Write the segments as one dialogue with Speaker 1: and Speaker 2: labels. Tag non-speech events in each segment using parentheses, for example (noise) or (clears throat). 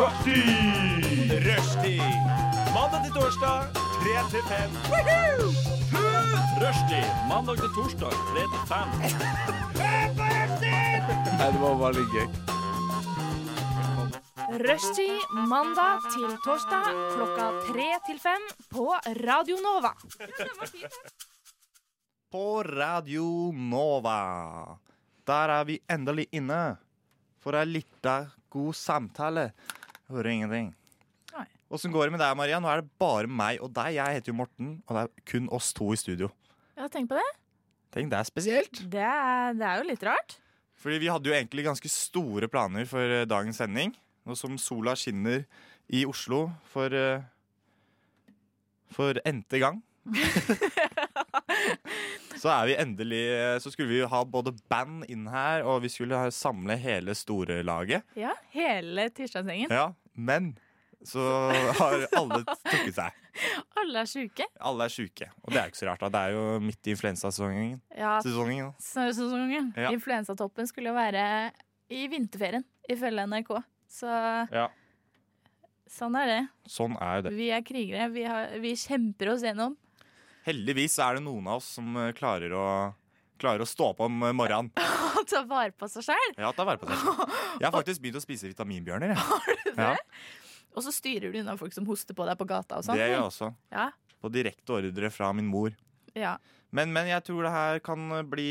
Speaker 1: Rushtid! Rushtid. Mandag til torsdag, 3 til 5. Rushtid. Mandag til torsdag, 3 til 5.
Speaker 2: det var veldig gøy.
Speaker 3: Rushtid mandag til torsdag klokka tre til fem på Radio Nova.
Speaker 2: På Radio Nova. Der er vi endelig inne for ei lita god samtale. Jeg hører ingenting.
Speaker 4: Nei.
Speaker 2: Åssen går det med deg, Maria? Nå er det bare meg og deg. Jeg heter jo Morten, og det er kun oss to i studio.
Speaker 4: Ja, tenk på det.
Speaker 2: Tenk, det er spesielt.
Speaker 4: Det er, det er jo litt rart.
Speaker 2: Fordi vi hadde jo egentlig ganske store planer for eh, dagens sending. Nå som sola skinner i Oslo for eh, For n-te gang. så er vi endelig eh, Så skulle vi jo ha både band inn her, og vi skulle ha- samle hele store laget.
Speaker 4: Ja, Hele tirsdagsgjengen.
Speaker 2: Ja, men så har alle trukket seg.
Speaker 4: Alle er sjuke.
Speaker 2: Alle er sjuke. Og det er jo ikke så rart, da. Det er jo midt i influensasesongen.
Speaker 4: Ja,
Speaker 2: Sesongen, da.
Speaker 4: så- så- sesongen.
Speaker 2: Ja.
Speaker 4: Influensatoppen skulle jo være i vinterferien, ifølge NRK. Så
Speaker 2: Ja,
Speaker 4: sånn er
Speaker 2: sånn er jo det.
Speaker 4: det. Vi er krigere. Vi, har, vi kjemper oss gjennom. (laughs)
Speaker 2: Heldigvis er det noen av oss som eh, klarer å, klarer å stå opp om eh, morgenen.
Speaker 4: Og ta vare på seg sjæl.
Speaker 2: Ja, ta vare på seg. Jeg har faktisk begynt å spise
Speaker 4: (laughs)
Speaker 2: vitaminbjørner. Jeg. Ja,
Speaker 4: Og så styrer du unna folk som hoster på deg på gata og
Speaker 2: det
Speaker 4: sånn.
Speaker 2: gjør jeg også.
Speaker 4: Ja,
Speaker 2: På direkte ordre fra min mor.
Speaker 4: ja.
Speaker 2: Men, men jeg tror det her kan eh, bli,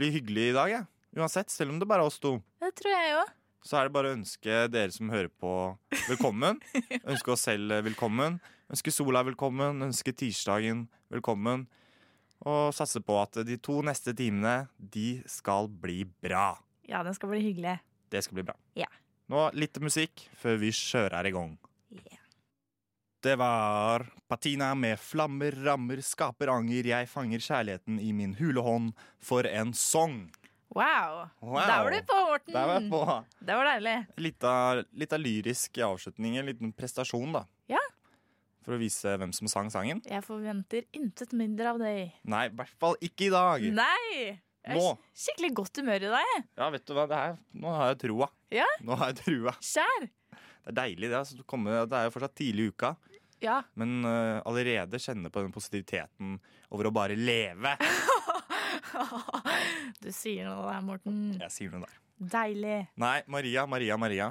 Speaker 2: bli hyggelig i dag, jeg. Uansett, selv om det bare er oss to.
Speaker 4: Det tror jeg jo.
Speaker 2: Så er det bare å ønske dere som hører på,
Speaker 4: (laughs)
Speaker 2: velkommen. Ønske oss selv eh, velkommen. Ønske sola velkommen. Ønske tirsdagen velkommen. Og satse på at de to neste timene, de skal bli bra.
Speaker 4: Ja, den skal bli hyggelig.
Speaker 2: Det skal bli bra.
Speaker 4: Ja.
Speaker 2: Nå litt musikk før vi kjører i gang.
Speaker 4: Yeah.
Speaker 2: Det var Patina med 'Flammer rammer skaper anger', jeg fanger kjærligheten i min hule hånd. For en song!
Speaker 4: Wow.
Speaker 2: Wow.
Speaker 4: Der var du på, Morten.
Speaker 2: Der var jeg på.
Speaker 4: Det var deilig.
Speaker 2: Litt av, litt av lyrisk avslutning, en liten prestasjon, da.
Speaker 4: Ja.
Speaker 2: For å vise hvem som sang sangen.
Speaker 4: Jeg forventer intet mindre av deg.
Speaker 2: Nei, i hvert fall ikke i dag.
Speaker 4: Nei! Jeg er
Speaker 2: Nå.
Speaker 4: skik- skikkelig godt humør i dag. jeg.
Speaker 2: Ja, vet du hva, det er, nå har jeg trua.
Speaker 4: Ja.
Speaker 2: Nå har jeg trua.
Speaker 4: Skjær.
Speaker 2: Det er deilig, det. Altså, å komme- det er jo fortsatt tidlig i uka.
Speaker 4: Ja. (laughs)
Speaker 2: Men eh, allerede kjenne på den positiviteten over å bare leve.
Speaker 4: Du sier noe der, Morten.
Speaker 2: Jeg sier noe der.
Speaker 4: Deilig.
Speaker 2: Nei, Maria, Maria, Maria.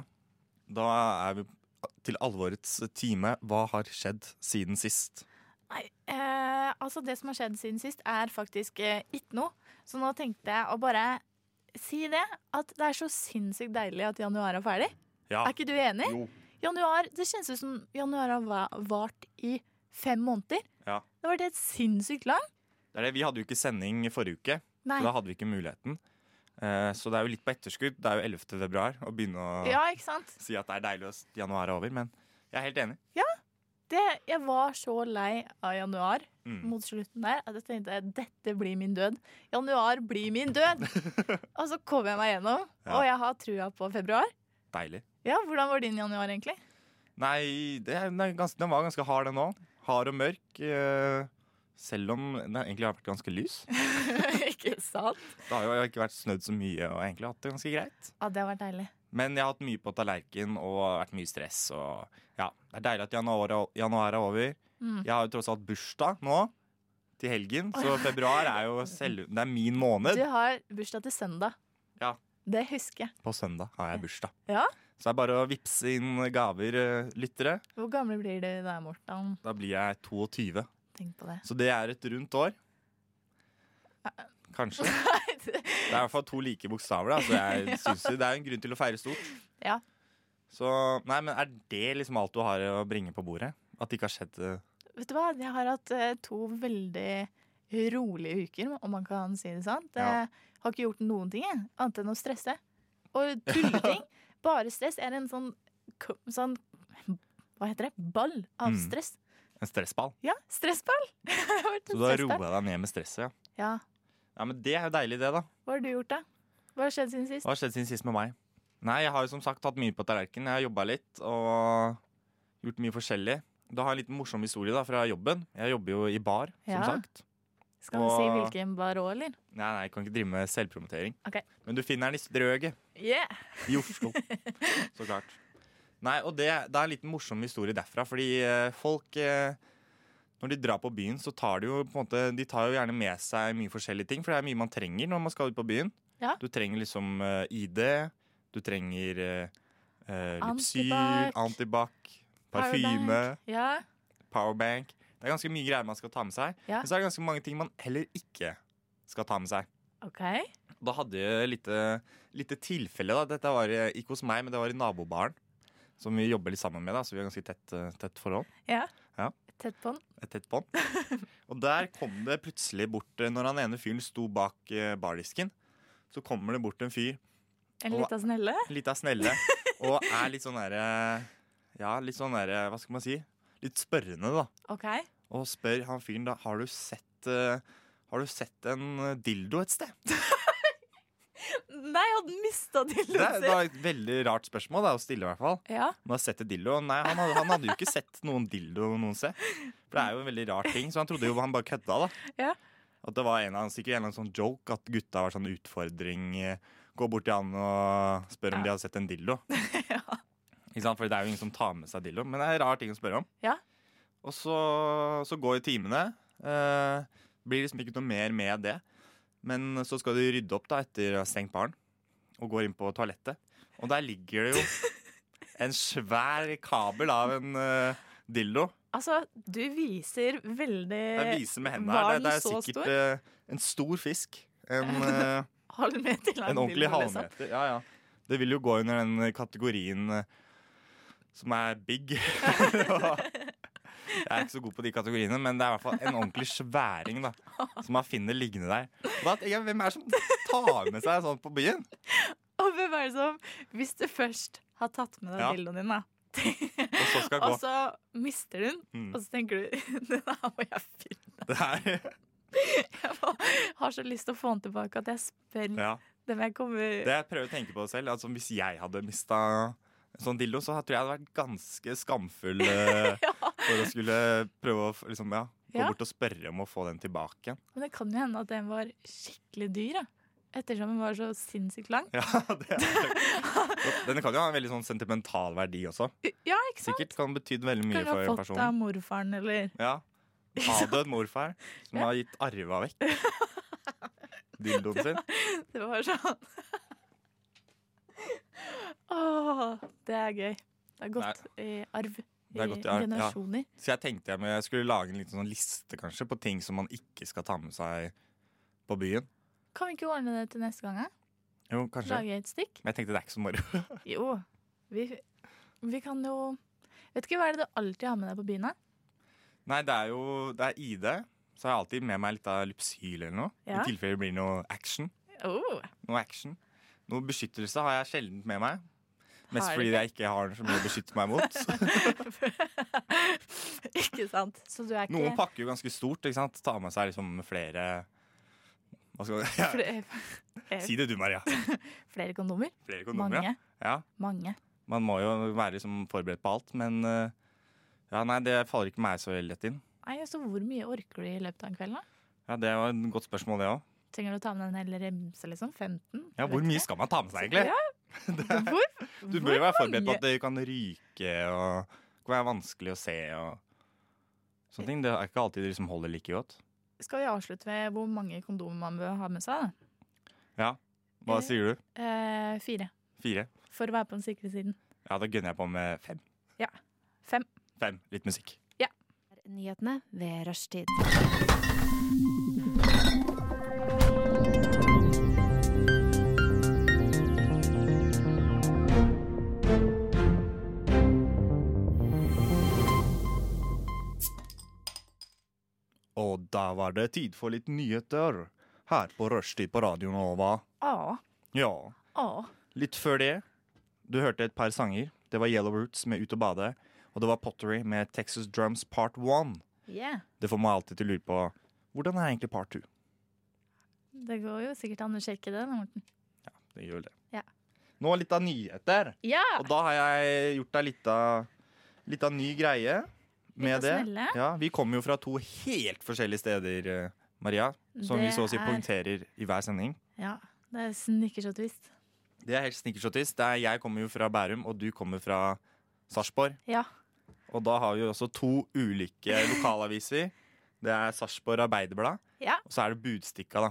Speaker 2: Da er vi til alvorets time. Hva har skjedd siden sist?
Speaker 4: Nei, eh, altså det som har skjedd siden sist, er faktisk eh, ikke noe. Så nå tenkte jeg å bare si det. At det er så sinnssykt deilig at januar er ferdig.
Speaker 2: Ja.
Speaker 4: Er ikke du enig?
Speaker 2: Jo.
Speaker 4: Januar, Det kjennes ut som januar har va- vart i fem måneder.
Speaker 2: Ja.
Speaker 4: Det har vært helt sinnssykt lang.
Speaker 2: Det er det. Vi hadde jo ikke sending i forrige uke,
Speaker 4: Nei.
Speaker 2: for da hadde vi ikke muligheten. Eh, Så det er jo litt på etterskudd. Det er jo 11. februar å begynne å
Speaker 4: Ja, ikke sant?
Speaker 2: si at det er deilig at januar er over, men jeg er helt enig.
Speaker 4: det, jeg var så lei av januar
Speaker 2: Mm.
Speaker 4: mot slutten der at jeg tenkte dette blir min død. Januar blir min (laughs) død! og så kom jeg meg gjennom,
Speaker 2: Ja.
Speaker 4: og jeg har trua på februar.
Speaker 2: Deilig.
Speaker 4: Ja, Hvordan var din januar, egentlig?
Speaker 2: Nei, det er, den, er ganske, den var ganske hard, den òg. Hard og mørk. eh, Selv om den egentlig har vært ganske lys.
Speaker 4: (laughs) Ikke sant?
Speaker 2: Det har jo ikke vært snødd så mye, og egentlig hatt det ganske greit.
Speaker 4: Ja, det har vært deilig.
Speaker 2: Men jeg har hatt mye på tallerken og vært mye stress. Og ja, Det er deilig at januar, januar er over.
Speaker 4: Mm.
Speaker 2: Jeg har jo tross alt bursdag nå til helgen, så februar er jo selv, det er min måned.
Speaker 4: Du har bursdag til søndag.
Speaker 2: Ja.
Speaker 4: Det husker jeg.
Speaker 2: På søndag har jeg bursdag.
Speaker 4: Ja.
Speaker 2: Så det er bare å vippse inn gaver, eh, lyttere.
Speaker 4: Hvor gamle blir du da, Morten?
Speaker 2: Da blir jeg 22.
Speaker 4: Tenk på det.
Speaker 2: Så det er et rundt år. Kanskje.
Speaker 4: (laughs)
Speaker 2: Det er i hvert fall to like bokstaver. Da. Så jeg synes jo det er en grunn til å feire stort.
Speaker 4: Ja.
Speaker 2: Så, nei, men Er det liksom alt du har å bringe på bordet? At det ikke har skjedd eh,
Speaker 4: Vet du hva, jeg har hatt eh, to veldig rolige uker, om man kan si det sånn.
Speaker 2: Ja.
Speaker 4: Jeg har ikke gjort noen ting, jeg, annet enn å stresse.
Speaker 2: (laughs)
Speaker 4: Og tulleting. Bare stress er en sånn, k- sånn Hva heter det? Ball av
Speaker 2: Mm.
Speaker 4: stress.
Speaker 2: en stressball?
Speaker 4: Ja, stressball! (laughs) Jeg har vært en
Speaker 2: Så du har
Speaker 4: stressball.
Speaker 2: roa deg ned med stresset? Ja.
Speaker 4: Ja.
Speaker 2: ja, men Det er jo deilig, det, da.
Speaker 4: Hva har du gjort, da? Hva har skjedd siden sist?
Speaker 2: Hva har skjedd siden sist med meg? Nei, Jeg har jo som sagt hatt mye på tallerkenen. Jeg har jobba litt og gjort mye forskjellig. Da har jeg en liten morsom historie da, fra jobben. Jeg jobber jo i bar, som
Speaker 4: Ja.
Speaker 2: sagt.
Speaker 4: Skal vi si
Speaker 2: Og-
Speaker 4: hvilken bar òg, eller?
Speaker 2: Nei, nei, jeg kan ikke drive med selvpromotering.
Speaker 4: Ok.
Speaker 2: Men du finner den i strøget
Speaker 4: Yeah.
Speaker 2: i Oslo. Så klart. Nei, og det, det er en liten morsom historie derfra, fordi eh, folk eh, når de drar på byen, så tar de jo på en måte De tar jo gjerne med seg mye forskjellige ting, for det er mye man trenger når man skal ut på byen.
Speaker 4: Ja.
Speaker 2: Du trenger liksom eh, ID, du trenger eh, eh, Lypsyl,
Speaker 4: Antibac.
Speaker 2: antibac, parfyme,
Speaker 4: Ja.
Speaker 2: powerbank. Det er ganske mye greier man skal ta med seg.
Speaker 4: Ja.
Speaker 2: Men så er det ganske mange ting man heller ikke skal ta med seg.
Speaker 4: OK.
Speaker 2: Da hadde jeg et lite, lite tilfelle. da Dette var eh, ikke hos meg, men det var i nabobaren. Som vi jobber litt sammen med, da så vi har ganske tett, eh, tett forhold.
Speaker 4: Tett på den.
Speaker 2: Et tett bånd. Og der kom det plutselig bort eh, Når han ene fyren sto bak eh, bardisken, så kommer det bort en fyr,
Speaker 4: En
Speaker 2: Og-
Speaker 4: lita snelle.
Speaker 2: litt av snelle, og er litt sånn derre Ja, litt sånn derre Hva skal man si? Litt spørrende, da.
Speaker 4: OK.
Speaker 2: Og spør han fyren da Har du sett eh, Har du sett en eh, dildo et sted?
Speaker 4: Nei, jeg hadde mista
Speaker 2: Det
Speaker 4: dildoen
Speaker 2: er, det
Speaker 4: sin!
Speaker 2: er et veldig rart spørsmål da, å stille, i hvert fall.
Speaker 4: Ja.
Speaker 2: Han har sett et dildo. Nei, han hadde, han hadde jo ikke sett noen dildo noen sted. For det er jo en veldig rar ting, så han trodde jo han bare kødda, da.
Speaker 4: Ja.
Speaker 2: At det var en eller annen, sikkert en eller annen sånn joke at gutta var sånn utfordring. eh, Gå bort til han og spør om
Speaker 4: Ja.
Speaker 2: de hadde sett en
Speaker 4: (laughs)
Speaker 2: dildo. Ikke sant? For det er jo ingen som tar med seg dildo, men det er en rar ting å spørre om.
Speaker 4: Ja.
Speaker 2: Og så, så går jo timene. eh, blir liksom ikke noe mer med det. Men så skal de rydde opp da etter å ha stengt baren, og går inn på toalettet. Og der ligger det jo en svær kabel av en eh, dildo.
Speaker 4: Altså, du viser veldig
Speaker 2: Jeg viser med hendene
Speaker 4: Eh, var
Speaker 2: her. Det, det
Speaker 4: den
Speaker 2: er
Speaker 4: så
Speaker 2: sikkert
Speaker 4: stor?
Speaker 2: eh, en stor fisk.
Speaker 4: (laughs)
Speaker 2: En, eh,
Speaker 4: halvmeter lang
Speaker 2: en ordentlig
Speaker 4: dildo, liksom.
Speaker 2: halvmeter. Ja, ja. Det vil jo gå under den kategorien eh, som er big. (laughs) Jeg er ikke så god på de kategoriene, men det er i hvert fall en ordentlig sværing da som man finner liggende der. Og da tenker jeg, Hvem er det som tar med seg sånt på byen?
Speaker 4: Og hvem er det som, hvis du først har tatt med deg
Speaker 2: Ja.
Speaker 4: dildoen din, da,
Speaker 2: Og så skal
Speaker 4: og (laughs)
Speaker 2: gå.
Speaker 4: så mister du den,
Speaker 2: Mm.
Speaker 4: og så tenker du (laughs) Den her må jeg finne.
Speaker 2: Det er,
Speaker 4: Jeg må, har så lyst til å få den tilbake at jeg spør
Speaker 2: ja.
Speaker 4: dem jeg kommer
Speaker 2: Det jeg prøver å tenke på selv, altså hvis jeg hadde mista en sånn dildo, så tror jeg jeg hadde vært ganske
Speaker 4: (laughs)
Speaker 2: skamfull eh, for å skulle prøve å f- liksom, ja, gå
Speaker 4: Ja.
Speaker 2: bort og spørre om å få den tilbake. (laughs)
Speaker 4: Men det kan jo hende at den var skikkelig dyr, da. Ettersom den var så sinnssykt lang.
Speaker 2: Ja, det er, Denne kan jo ha en veldig sånn sentimental verdi også.
Speaker 4: Ja, ikke sant?
Speaker 2: Sikkert kan betydd veldig mye
Speaker 4: Kan ha
Speaker 2: for
Speaker 4: fått det av
Speaker 2: personen.
Speaker 4: morfaren, eller
Speaker 2: Ja. Avdød morfar som har gitt arva
Speaker 4: (laughs)
Speaker 2: vekk dildoen sin.
Speaker 4: Det var sånn. (laughs) Åh, det er gøy. Det er gått i arv.
Speaker 2: Det er gått i arv, ja.
Speaker 4: generasjoner.
Speaker 2: Så jeg tenkte jeg, men jeg skulle lage en liten sånn liste kanskje på ting som man ikke skal ta med seg på byen.
Speaker 4: Kan vi ikke ordne det til neste gang? eh?
Speaker 2: Jo, kanskje.
Speaker 4: Lage et stikk?
Speaker 2: Men jeg tenkte det er ikke så moro. (laughs)
Speaker 4: Jo. Vi, vi kan jo Vet ikke hva er det du alltid har med deg på byen? da?
Speaker 2: Nei, det er jo det er ID. Så har jeg alltid med meg litt av Lypsyl eller noe.
Speaker 4: Ja.
Speaker 2: I tilfelle det blir noe action.
Speaker 4: Oh,
Speaker 2: Noe action. Noe beskyttelse har jeg sjelden med meg. Mest
Speaker 4: Har du
Speaker 2: fordi jeg ikke har så mye å beskytte meg mot.
Speaker 4: (laughs) (laughs)
Speaker 2: (laughs)
Speaker 4: ikke sant? Så du er ikke
Speaker 2: Noen pakker jo ganske stort. ikke sant? Tar med seg liksom flere Hva skal man (laughs) ja.
Speaker 4: fl- eh,
Speaker 2: Si det du, Maria.
Speaker 4: Flere kondomer?
Speaker 2: Flere
Speaker 4: Mange.
Speaker 2: kondomer. Ja. ja.
Speaker 4: Mange.
Speaker 2: Man må jo være liksom forberedt på alt, men eh, ja, nei, det faller ikke meg så veldig lett inn.
Speaker 4: Nei, så Hvor mye orker du i løpet av en kveld? da?
Speaker 2: Ja, Det var et godt spørsmål, det òg.
Speaker 4: Trenger du å ta med deg en hel remse? liksom? 15?
Speaker 2: Ja, hvor mye skal man ta med seg, egentlig? (laughs)
Speaker 4: Ja, hvor,
Speaker 2: Du bør jo være forberedt på at det kan ryke og kan være vanskelig å se og sånne ting. Det er ikke alltid det liksom holder like godt.
Speaker 4: Skal vi avslutte med hvor mange kondomer man bør ha med seg? da?
Speaker 2: Hva
Speaker 4: Eh.
Speaker 2: sier du?
Speaker 4: Eh, fire.
Speaker 2: Fire?
Speaker 4: For å være på den sikre siden.
Speaker 2: Ja, da gønner jeg på med fem.
Speaker 4: Fem.
Speaker 2: Fem. Litt musikk.
Speaker 5: Nyhetene ved rushtid.
Speaker 2: Og da var det tid for litt nyheter her på Rushtid på Radio Nova.
Speaker 4: Å,
Speaker 2: Ja,
Speaker 4: å.
Speaker 2: litt før det Du hørte et par sanger. Det var Yellow Roots med Ut og bade, og det var Pottery med Texas Drums Part 1.
Speaker 4: Yeah.
Speaker 2: Det får meg alltid til å lure på hvordan er egentlig Part 2?
Speaker 4: Det går jo sikkert an å sjekke det. da, Morten.
Speaker 2: Det gjør vel det.
Speaker 4: Ja.
Speaker 2: Nå litt av nyheter.
Speaker 4: Ja!
Speaker 2: Og da har jeg gjort deg litt av, litt av ny greie med
Speaker 4: Litt av
Speaker 2: det.
Speaker 4: snelle.
Speaker 2: Ja, vi kommer jo fra to helt forskjellige steder, eh, Maria, som vi
Speaker 4: Det
Speaker 2: så å si
Speaker 4: er-
Speaker 2: poengterer i hver sending.
Speaker 4: Ja, det er snickers og twist.
Speaker 2: Det er helt snickersjottis. Det er- Jeg kommer jo fra Bærum, og du kommer fra Sarpsborg.
Speaker 4: Ja.
Speaker 2: Og da har vi jo også to
Speaker 4: (laughs)
Speaker 2: ulike lokalaviser. Det er Sarpsborg Arbeiderblad,
Speaker 4: Ja.
Speaker 2: og så er det Budstikka, da.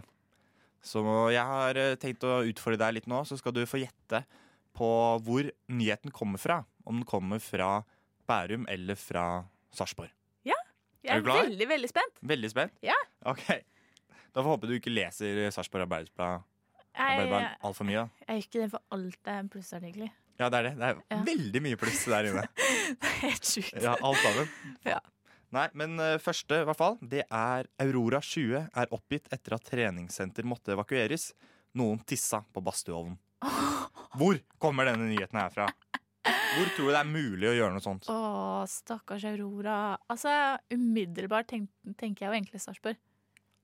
Speaker 2: Så jeg har eh, tenkt å utfordre deg litt nå, så skal du få gjette på hvor nyheten kommer fra. Om den kommer fra Bærum eller fra Sarpsborg.
Speaker 4: Jeg
Speaker 2: Er
Speaker 4: er,
Speaker 2: du klar?
Speaker 4: veldig, veldig spent.
Speaker 2: Veldig spent?
Speaker 4: Ja.
Speaker 2: Ok. Da får jeg håpe du ikke leser Sarpsborg Arbeiderblad,
Speaker 4: Jeg, eh,
Speaker 2: Arbeiderblad altfor mye. da.
Speaker 4: jeg er ikke det for alt er plussartikler.
Speaker 2: Ja, det er det. Det er
Speaker 4: Ja.
Speaker 2: veldig mye pluss der inne.
Speaker 4: (laughs) Det er helt sjukt.
Speaker 2: Ja, alt sammen.
Speaker 4: (laughs) Ja.
Speaker 2: Nei, men eh, første, i hvert fall, det er Aurora 20 er oppgitt etter at treningssenter måtte evakueres. Noen tissa
Speaker 4: (laughs)
Speaker 2: på badstueovnen. Hvor kommer denne nyheten her fra? Hvor tror du det er mulig å gjøre noe sånt?
Speaker 4: Å, stakkars Aurora. Altså, umiddelbart tenk, tenker jeg jo egentlig Sarpsborg.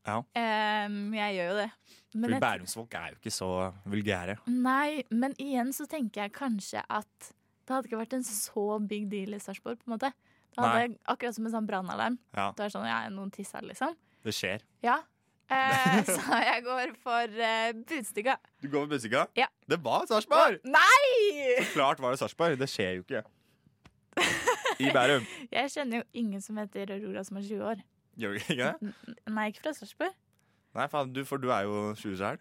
Speaker 2: Ja.
Speaker 4: Em, jeg gjør jo det. Men
Speaker 2: Fordi
Speaker 4: jeg-
Speaker 2: Bærumsfolk er jo ikke så vulgære.
Speaker 4: Nei, men igjen så tenker jeg kanskje at det hadde ikke vært en så big deal i Sarpsborg, på en måte. Det hadde akkurat som en sånn brannalarm.
Speaker 2: Ja,
Speaker 4: Det er sånn, ja, noen tisser, liksom.
Speaker 2: det skjer.
Speaker 4: Ja.
Speaker 2: (laughs)
Speaker 4: Eh, så jeg går for eh, Budstikka.
Speaker 2: Du går med bussika?
Speaker 4: Ja.
Speaker 2: Det var Sarpsborg!
Speaker 4: Nei!
Speaker 2: Klart var det Sarpsborg. Det skjer jo
Speaker 4: (laughs)
Speaker 2: ikke. I Bærum.
Speaker 4: Jeg kjenner jo ingen som heter Aurora som er 20 år.
Speaker 2: Gjør du ikke det?
Speaker 4: Nei, ikke fra Sarpsborg.
Speaker 2: Nei, faen, du, for du er jo 20 sjøl.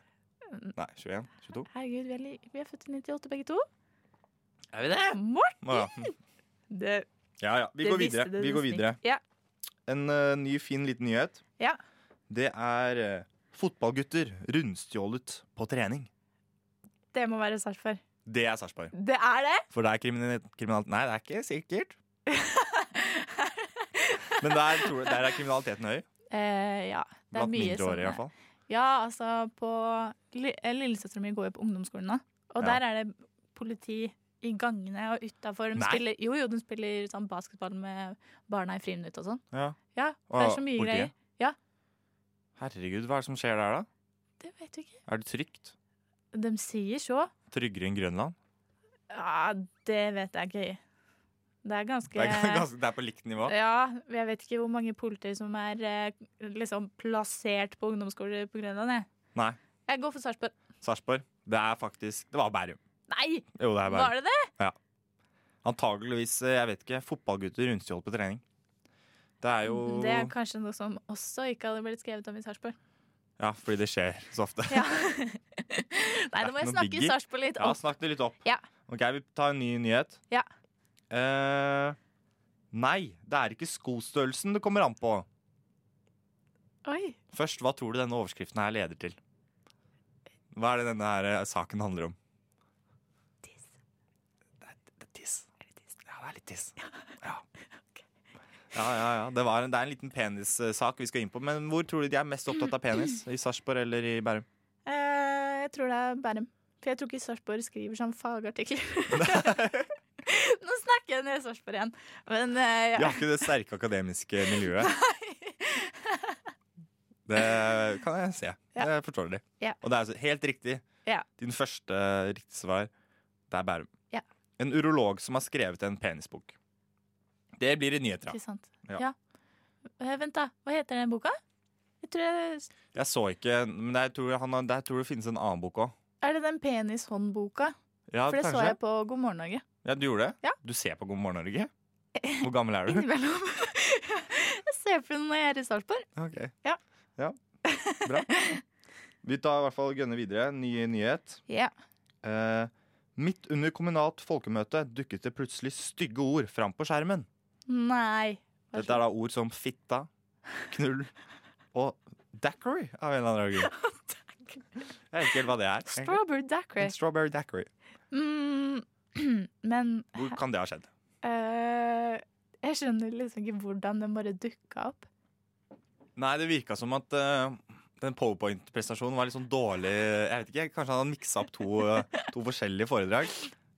Speaker 4: Mm.
Speaker 2: Nei, 21? 22?
Speaker 4: Herregud, vi er, li- vi er født i 98 begge to.
Speaker 2: Er vi det?
Speaker 4: Mort!
Speaker 2: Å, ja.
Speaker 4: Det,
Speaker 2: Ja, ja. Vi
Speaker 4: det
Speaker 2: går
Speaker 4: visste
Speaker 2: videre.
Speaker 4: du
Speaker 2: Vi går
Speaker 4: nesten
Speaker 2: videre.
Speaker 4: ikke. Ja.
Speaker 2: En eh, ny, fin liten nyhet.
Speaker 4: Ja.
Speaker 2: Det er eh, fotballgutter rundstjålet på trening.
Speaker 4: Det må være Sarpsborg.
Speaker 2: Det er Sarpsborg.
Speaker 4: Det er det!
Speaker 2: For det er kriminalitet kriminal Nei, det er ikke
Speaker 4: (laughs)
Speaker 2: sikkert. Men der, tror jeg, der er kriminaliteten høy.
Speaker 4: Eh, ja. Det er
Speaker 2: Blant
Speaker 4: mye
Speaker 2: mindreårige, i
Speaker 4: sånne-
Speaker 2: hvert fall.
Speaker 4: Ja, altså på li- eh, Lillesøstera mi går jo på ungdomsskolen nå, og
Speaker 2: Ja.
Speaker 4: der er det politi i gangene og utafor.
Speaker 2: Nei.
Speaker 4: Jo, jo, de spiller sånn basketball med barna i friminutt og sånn.
Speaker 2: Ja.
Speaker 4: Ja,
Speaker 2: Og
Speaker 4: det er så mye greier.
Speaker 2: politiet?
Speaker 4: Ja.
Speaker 2: Herregud, hva er det som skjer der, da?
Speaker 4: Det vet vi ikke.
Speaker 2: Er det trygt?
Speaker 4: De sier så.
Speaker 2: Tryggere enn Grønland?
Speaker 4: Ja, det vet jeg ikke. Det er ganske
Speaker 2: Det er, ganske, det er på likt nivå.
Speaker 4: Ja, jeg vet ikke hvor mange politier som er eh, liksom plassert på ungdomsskoler på Grønland, jeg.
Speaker 2: Nei.
Speaker 4: Jeg går for Sarpsborg.
Speaker 2: Sarpsborg. Det er faktisk Det var Bærum.
Speaker 4: Nei!
Speaker 2: Jo, det er Bærum.
Speaker 4: Var det det?
Speaker 2: Antakeligvis, eh, jeg vet ikke, fotballgutter rundstjålet på trening. Det er jo
Speaker 4: Mm, Det er kanskje noe som også ikke hadde blitt skrevet om i Sarpsborg.
Speaker 2: Ja, fordi det skjer så ofte.
Speaker 4: Ja. (laughs) Nei, nå må
Speaker 2: Det er ikke
Speaker 4: jeg
Speaker 2: noe
Speaker 4: snakke
Speaker 2: biggie.
Speaker 4: Sarpsborg litt
Speaker 2: (laughs) Ja,
Speaker 4: opp.
Speaker 2: snakk det litt opp.
Speaker 4: Ja.
Speaker 2: Ok, vi tar en ny nyhet.
Speaker 4: Ja.
Speaker 2: Eh, nei, det er ikke skostørrelsen det kommer an på.
Speaker 4: Oi.
Speaker 2: Først, hva tror du denne overskriften her leder til? Hva er det denne her eh, saken handler om?
Speaker 4: Tiss.
Speaker 2: Det er, det er tiss. Ja, det er litt tiss. (laughs) Ja. Ja, ja, ja. Det, var en, det er en liten penissak vi skal inn på, men hvor tror du de er mest opptatt av penis? I Sarpsborg eller i (laughs) Bærum?
Speaker 4: Eh, jeg tror det er Bærum. For jeg tror ikke Sarpsborg skriver sånn fagartikler. (laughs) Nå snakker jeg ned Sarpsborg igjen. Men eh,
Speaker 2: Vi
Speaker 4: ja.
Speaker 2: har ikke det sterke akademiske miljøet. Det kan jeg se. Det er forståelig.
Speaker 4: Ja.
Speaker 2: Og det er altså helt riktig.
Speaker 4: Ja.
Speaker 2: Din første riktige svar, det er Bærum.
Speaker 4: Ja.
Speaker 2: En urolog som har skrevet en penisbok. Det blir i nyheter av.
Speaker 4: Ikke sant.
Speaker 2: Ja.
Speaker 4: Ja. Eh, vent, da. Hva heter den boka? Jeg tror jeg,
Speaker 2: Jeg så ikke, men der tror jeg, han har, der tror jeg det finnes en annen bok òg.
Speaker 4: er det den penishåndboka?
Speaker 2: Ja,
Speaker 4: For det
Speaker 2: kanskje?
Speaker 4: så jeg på God morgen Norge.
Speaker 2: Ja, du gjorde det?
Speaker 4: Ja.
Speaker 2: Du ser på God
Speaker 4: (laughs)
Speaker 2: morgen Norge? Hvor gammel er du?
Speaker 4: Innimellom. (laughs) jeg ser på den når jeg er i Sarpsborg.
Speaker 2: Ok.
Speaker 4: Ja.
Speaker 2: Ja.
Speaker 4: (laughs)
Speaker 2: Bra. Vi tar i hvert fall gønner videre. Ny nyhet.
Speaker 4: Ja.
Speaker 2: Eh, midt under kommunalt folkemøte dukket det plutselig stygge ord fram på skjermen.
Speaker 4: Nei. Hva
Speaker 2: Dette er da ord som fitta, knull og daiquiri av en eller
Speaker 4: (laughs)
Speaker 2: annen grunn. Jeg vet ikke helt hva det er. egentlig.
Speaker 4: Strawberry Dackery.
Speaker 2: En strawberry daiquiri.
Speaker 4: Mm, (clears throat) men
Speaker 2: Hvor kan det ha skjedd?
Speaker 4: eh, jeg skjønner liksom ikke hvordan den bare dukka opp.
Speaker 2: Nei, det virka som at eh, den powerpoint-presentasjonen var litt sånn dårlig. Jeg vet ikke, Kanskje han hadde miksa opp to, eh, to forskjellige foredrag.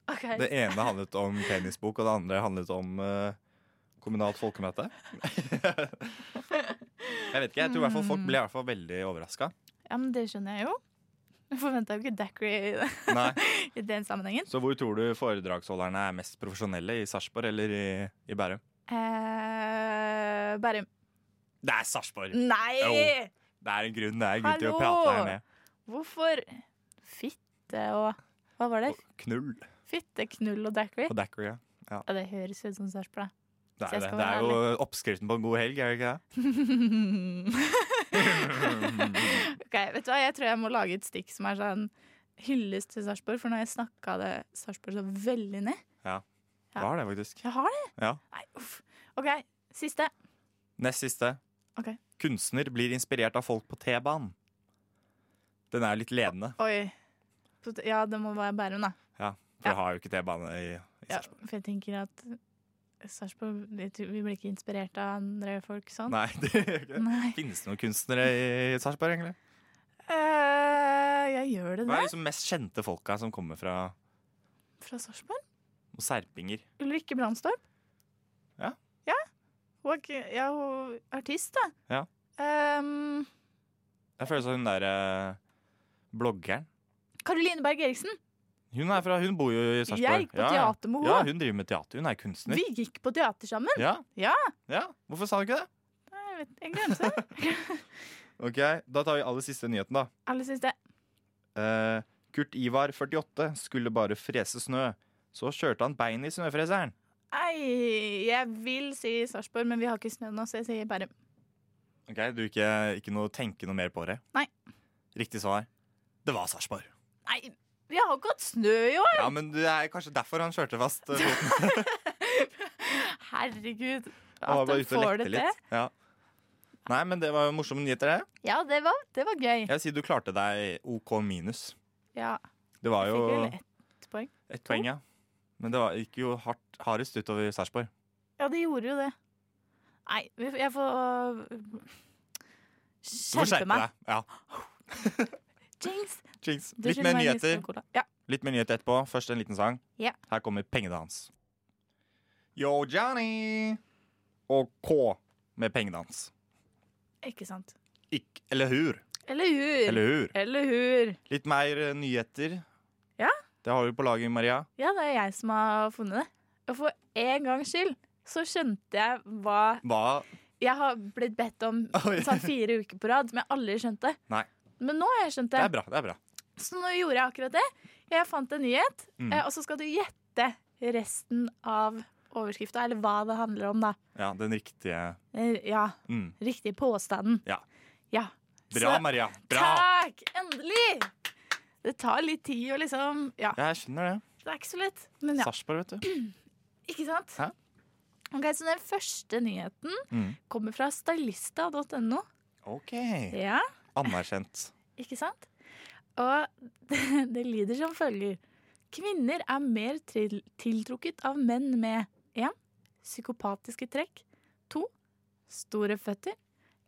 Speaker 4: Ok,
Speaker 2: Det ene handlet om penisbok, og det andre handlet om eh, kommunalt folkemøte. jeg vet ikke, jeg tror i hvert fall folk ble i hvert fall veldig overraska.
Speaker 4: Ja, men det skjønner jeg jo. Jeg forventa jo ikke Dackery i den sammenhengen.
Speaker 2: Så hvor tror du foredragsholderne er mest profesjonelle? I Sarpsborg eller i, i Bærum?
Speaker 4: Eh, Bærum.
Speaker 2: Det er Sarpsborg!
Speaker 4: Nei!
Speaker 2: Jo. Det er en grunn det er en grunn til å
Speaker 4: Hallo!
Speaker 2: prate her ned.
Speaker 4: Hvorfor fitte og Hva var det?
Speaker 2: Og knull
Speaker 4: Fitte, knull og daiquiri?
Speaker 2: på Dacquery. Ja.
Speaker 4: Ja, det høres ut som sørs på deg.
Speaker 2: Det
Speaker 4: Så jeg
Speaker 2: er, det.
Speaker 4: skal
Speaker 2: det
Speaker 4: være
Speaker 2: er jo oppskriften på en god helg, er det ikke det?
Speaker 4: (laughs) ok, vet du hva? Jeg tror jeg må lage et stikk som er sånn hyllest til Sarpsborg, for nå har jeg snakka det Sarpsborg så veldig ned. (laughs) Ja.
Speaker 2: Det var det, faktisk.
Speaker 4: Jeg har det!
Speaker 2: Ja.
Speaker 4: Nei, uff. OK, siste.
Speaker 2: Nest siste.
Speaker 4: Ok.
Speaker 2: Kunstner blir inspirert av folk på T-banen. Den er jo litt ledende,
Speaker 4: Oi. Pot- Ja, det må være Bærum, da.
Speaker 2: for
Speaker 4: Ja.
Speaker 2: jeg har jo ikke T-bane i, i
Speaker 4: Ja,
Speaker 2: Sarpsborg.
Speaker 4: for jeg tenker at Sarpsborg Vi tror- vi blir ikke inspirert av andre folk sånn.
Speaker 2: Nei, (laughs) det gjør ikke det.
Speaker 4: Nei.
Speaker 2: Finnes det noen kunstnere i i Sarpsborg, egentlig?
Speaker 4: Eh, jeg gjør det,
Speaker 2: Hva er
Speaker 4: det.
Speaker 2: liksom mest kjente folka som kommer fra
Speaker 4: Fra Sarpsborg?
Speaker 2: serpinger?
Speaker 4: Ulrikke Brandstorp.
Speaker 2: Ja.
Speaker 4: Ja. Hun er, ikke- ja, hun er artist, da.
Speaker 2: Ja.
Speaker 4: Ehm,
Speaker 2: Jeg føler som hun der eh, bloggeren.
Speaker 4: Caroline Berg Eriksen.
Speaker 2: Hun, er fra, hun bor jo i Sarpsborg.
Speaker 4: Jeg gikk på teater med
Speaker 2: Ja,
Speaker 4: henne.
Speaker 2: hun driver med teater. Hun er kunstner.
Speaker 4: Vi gikk på teater sammen.
Speaker 2: Ja.
Speaker 4: Ja.
Speaker 2: ja. Hvorfor sa du ikke det?
Speaker 4: Nei, Jeg, vet, jeg glemte det. (laughs)
Speaker 2: Ok, Da tar vi aller siste nyheten, da.
Speaker 4: Alle syns det.
Speaker 2: Eh, Kurt Ivar, 48, skulle bare frese snø. Så kjørte han beinet i snøfreseren.
Speaker 4: Ei, jeg vil si Sarpsborg, men vi har ikke snø nå, så jeg sier Bærum.
Speaker 2: Ok, Du ikke, ikke noe, tenke noe mer på det?
Speaker 4: Nei.
Speaker 2: Riktig svar. Det var Sarpsborg.
Speaker 4: Nei, vi har ikke hatt snø i år!
Speaker 2: Ja, men det er kanskje derfor han kjørte fast.
Speaker 4: (laughs)
Speaker 2: eh, foten.
Speaker 4: Herregud.
Speaker 2: Han var
Speaker 4: At
Speaker 2: bare
Speaker 4: de
Speaker 2: ute og
Speaker 4: får
Speaker 2: lekte
Speaker 4: det til.
Speaker 2: litt. Ja. Nei, men det var jo morsomme nyheter, det.
Speaker 4: Ja, det var, det var gøy.
Speaker 2: Jeg sier du klarte deg OK minus.
Speaker 4: Ja,
Speaker 2: Det var
Speaker 4: jeg
Speaker 2: jo
Speaker 4: fikk vel ett poeng.
Speaker 2: ett poeng, ja. Men det var, gikk jo hardt, hardest utover Sarpsborg.
Speaker 4: Ja, det gjorde jo det. Nei, vi får- jeg får øh,
Speaker 2: Du får
Speaker 4: skjerpe
Speaker 2: skjerpe
Speaker 4: meg.
Speaker 2: deg. Ja.
Speaker 4: Jinx!
Speaker 2: Jinx.
Speaker 4: Du
Speaker 2: Litt
Speaker 4: skylder
Speaker 2: mer
Speaker 4: meg en
Speaker 2: nyheter.
Speaker 4: Lister Cola. Ja.
Speaker 2: Litt mer nyheter etterpå. Først en liten sang.
Speaker 4: Ja.
Speaker 2: Her kommer pengene hans. Yo, Johnny! Og K med pengene hans.
Speaker 4: Ikke sant.
Speaker 2: Ikk, eller hur?
Speaker 4: Eller hur?
Speaker 2: Eller hur?
Speaker 4: Eller hur?
Speaker 2: Litt mer eh, nyheter.
Speaker 4: Ja.
Speaker 2: Det har du på laget, Maria.
Speaker 4: Ja, det er jeg som har funnet det. Og for en gangs skyld så skjønte jeg hva
Speaker 2: Hva?
Speaker 4: Jeg har blitt bedt om
Speaker 2: Oi.
Speaker 4: sånn fire uker på rad, som jeg aldri skjønte.
Speaker 2: Nei.
Speaker 4: Men nå har jeg skjønt
Speaker 2: Det
Speaker 4: det.
Speaker 2: er bra. det er bra.
Speaker 4: Så nå gjorde jeg akkurat det. Jeg fant en nyhet,
Speaker 2: Mm.
Speaker 4: eh, og så skal du gjette resten av overskrifta, eller hva det handler om, da.
Speaker 2: Ja, den riktige
Speaker 4: Eh, Ja,
Speaker 2: mm.
Speaker 4: riktige påstanden.
Speaker 2: Ja.
Speaker 4: Ja.
Speaker 2: Bra,
Speaker 4: Så-
Speaker 2: Maria. Bra!
Speaker 4: Takk! Endelig! Det tar litt tid å liksom Ja,
Speaker 2: Jeg skjønner det.
Speaker 4: det er ikke så lett. Men ja,
Speaker 2: Sarpsborg, vet du.
Speaker 4: ikke sant?
Speaker 2: Hæ?
Speaker 4: Ok, Så den første nyheten
Speaker 2: Mm.
Speaker 4: kommer fra stylista.no.
Speaker 2: OK.
Speaker 4: Ja, (laughs)
Speaker 2: Anerkjent.
Speaker 4: ikke sant? Og (laughs) det, det lyder som følger. Kvinner er mer til, tiltrukket av menn med 1. Psykopatiske trekk. 2. Store føtter.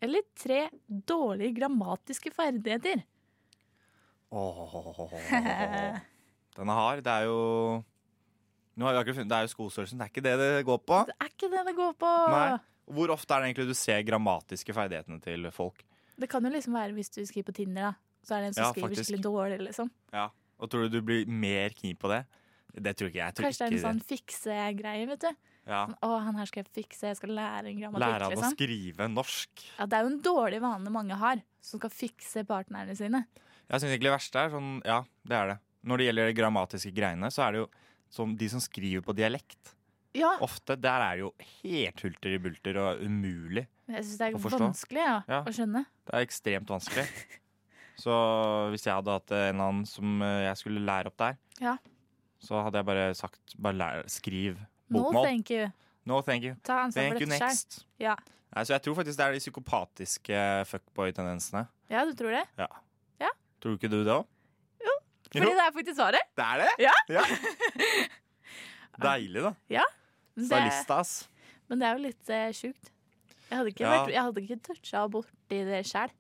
Speaker 4: Eller 3. Dårlige grammatiske ferdigheter.
Speaker 2: Åh. Den er hard. Det er jo Nå har vi akkurat funnet Det er jo skostørrelsen. Det er ikke det det går på.
Speaker 4: Det er ikke det det går på.
Speaker 2: Nei. Hvor ofte er det egentlig du ser grammatiske ferdighetene til folk?
Speaker 4: Det kan jo liksom være hvis du skriver på Tinder, da. Så er det en som
Speaker 2: Ja,
Speaker 4: skriver
Speaker 2: faktisk.
Speaker 4: skikkelig dårlig, liksom.
Speaker 2: Ja. Og tror du du blir mer kniv på det? Det tror ikke jeg. jeg tror
Speaker 4: Kanskje det er en
Speaker 2: ikke
Speaker 4: sånn fikse-greie, vet du.
Speaker 2: ja.
Speaker 4: Sånn, Å, han her skal jeg fikse, jeg skal lære en grammatikk,
Speaker 2: Lære han å
Speaker 4: liksom.
Speaker 2: skrive norsk.
Speaker 4: Ja, det er jo en dårlig vane mange har, som skal fikse partnerne sine.
Speaker 2: Jeg syns egentlig det verste er sånn Ja, det er det. Når det gjelder de grammatiske greiene, så er det jo som de som skriver på dialekt.
Speaker 4: Ja,
Speaker 2: Ofte der er det jo helt hulter i bulter og umulig.
Speaker 4: jeg syns det er
Speaker 2: å forstå.
Speaker 4: vanskelig ja,
Speaker 2: Ja.
Speaker 4: å skjønne.
Speaker 2: Det er ekstremt vanskelig. Så hvis jeg hadde hatt en eller annen som eh, jeg skulle lære opp der,
Speaker 4: Ja.
Speaker 2: så hadde jeg bare sagt bare lær, skriv
Speaker 4: Nå
Speaker 2: bokmål.
Speaker 4: thank you.
Speaker 2: No, thank you.
Speaker 4: Ta ansvar
Speaker 2: Thank
Speaker 4: for
Speaker 2: you
Speaker 4: dette sjøl.
Speaker 2: next.
Speaker 4: Ja.
Speaker 2: Nei, så jeg tror faktisk det er de psykopatiske fuckboy-tendensene.
Speaker 4: ja, du tror det?
Speaker 2: Tror ikke du det òg? Jo.
Speaker 4: Fordi det er faktisk svaret.
Speaker 2: Det er det?
Speaker 4: Ja. (laughs)
Speaker 2: Deilig, da.
Speaker 4: Men Det,
Speaker 2: Stylista, ass.
Speaker 4: men det er jo litt eh, sjukt. Jeg hadde ikke,
Speaker 2: Ja.
Speaker 4: vært, jeg hadde ikke toucha borti det (laughs) sjæl.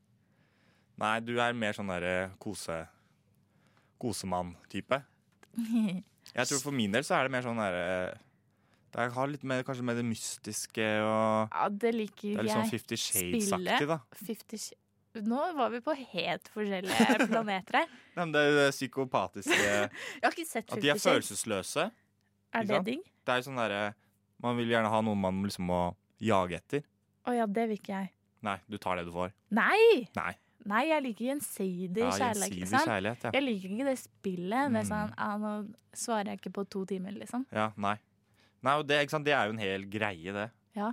Speaker 2: Nei, du er mer sånn derre kose... kosemann-type. Jeg tror for min del så er det mer sånn derre Det er- har litt mer kanskje mer det mystiske og
Speaker 4: Ja, det liker
Speaker 2: Det
Speaker 4: ikke
Speaker 2: er litt
Speaker 4: jeg.
Speaker 2: sånn Fifty Shades-aktig, da.
Speaker 4: Fifty Sh- Nå var vi på helt
Speaker 2: (laughs)
Speaker 4: forskjellige planeter her.
Speaker 2: Nei, men det er jo det
Speaker 4: (laughs)
Speaker 2: psykopatiske
Speaker 4: Jeg har ikke sett
Speaker 2: At
Speaker 4: Fifty
Speaker 2: de er
Speaker 4: Shades.
Speaker 2: følelsesløse.
Speaker 4: Er
Speaker 2: ikke
Speaker 4: det
Speaker 2: sant?
Speaker 4: digg?
Speaker 2: Det er jo sånn derre Man vil gjerne ha noen man liksom må jage etter.
Speaker 4: Å ja, det vil ikke jeg.
Speaker 2: Nei, du tar det du får.
Speaker 4: Nei!
Speaker 2: Nei.
Speaker 4: Nei, jeg liker gjensidig
Speaker 2: Ja,
Speaker 4: kjærlighet.
Speaker 2: gjensidig
Speaker 4: ikke sant?
Speaker 2: kjærlighet, ja.
Speaker 4: Jeg liker ikke det spillet. Det er
Speaker 2: Mm.
Speaker 4: sånn, ah, nå svarer jeg ikke på to timer, liksom.
Speaker 2: ja nei. nei og det, ikke sant? det er jo en hel greie, det.
Speaker 4: Ja.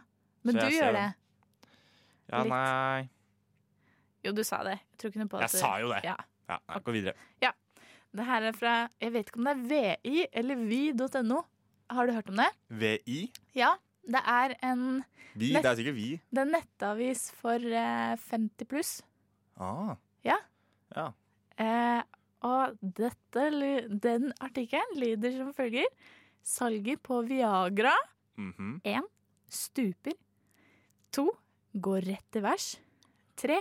Speaker 4: Men
Speaker 2: Så
Speaker 4: du
Speaker 2: jeg ser
Speaker 4: gjør det.
Speaker 2: den. Ja,
Speaker 4: Litt.
Speaker 2: nei
Speaker 4: Jo, du sa det. Jeg tror ikke noe på
Speaker 2: Jeg
Speaker 4: at du-
Speaker 2: sa jo det.
Speaker 4: Ja.
Speaker 2: Ja, nei, Gå videre.
Speaker 4: Det her er fra Jeg vet ikke om det er VI eller vi.no. Har du hørt om det?
Speaker 2: VI.
Speaker 4: Ja. Det er en
Speaker 2: Vi,
Speaker 4: Nest-
Speaker 2: det er sikkert vi.
Speaker 4: det er en nettavis for eh, 50 pluss.
Speaker 2: Ah.
Speaker 4: Ja.
Speaker 2: Ja.
Speaker 4: Eh, og dette, ly- den artikkelen lyder som følger. Salget på Viagra
Speaker 2: mhm.
Speaker 4: stuper. To går rett i vers. Tre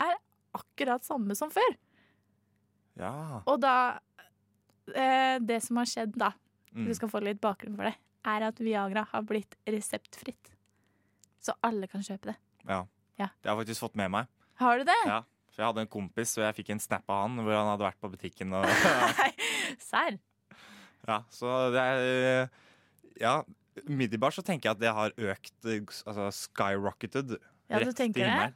Speaker 4: er akkurat samme som før.
Speaker 2: ja.
Speaker 4: Og da eh, Det som har skjedd, da,
Speaker 2: Mm.
Speaker 4: du skal få litt bakgrunn for det, er at Viagra har blitt reseptfritt. Så alle kan kjøpe det.
Speaker 2: Det har jeg faktisk fått med meg.
Speaker 4: Har du det?
Speaker 2: Ja. For jeg hadde en kompis, og jeg fikk en snap av han hvor han hadde vært på butikken. Og, (laughs)
Speaker 4: Nei, serr?
Speaker 2: ja, så det er eh, Ja, umiddelbart så tenker jeg at det har økt, eh, altså skyrocketed,
Speaker 4: Ja, du
Speaker 2: rett til
Speaker 4: tenker det?
Speaker 2: himmelen.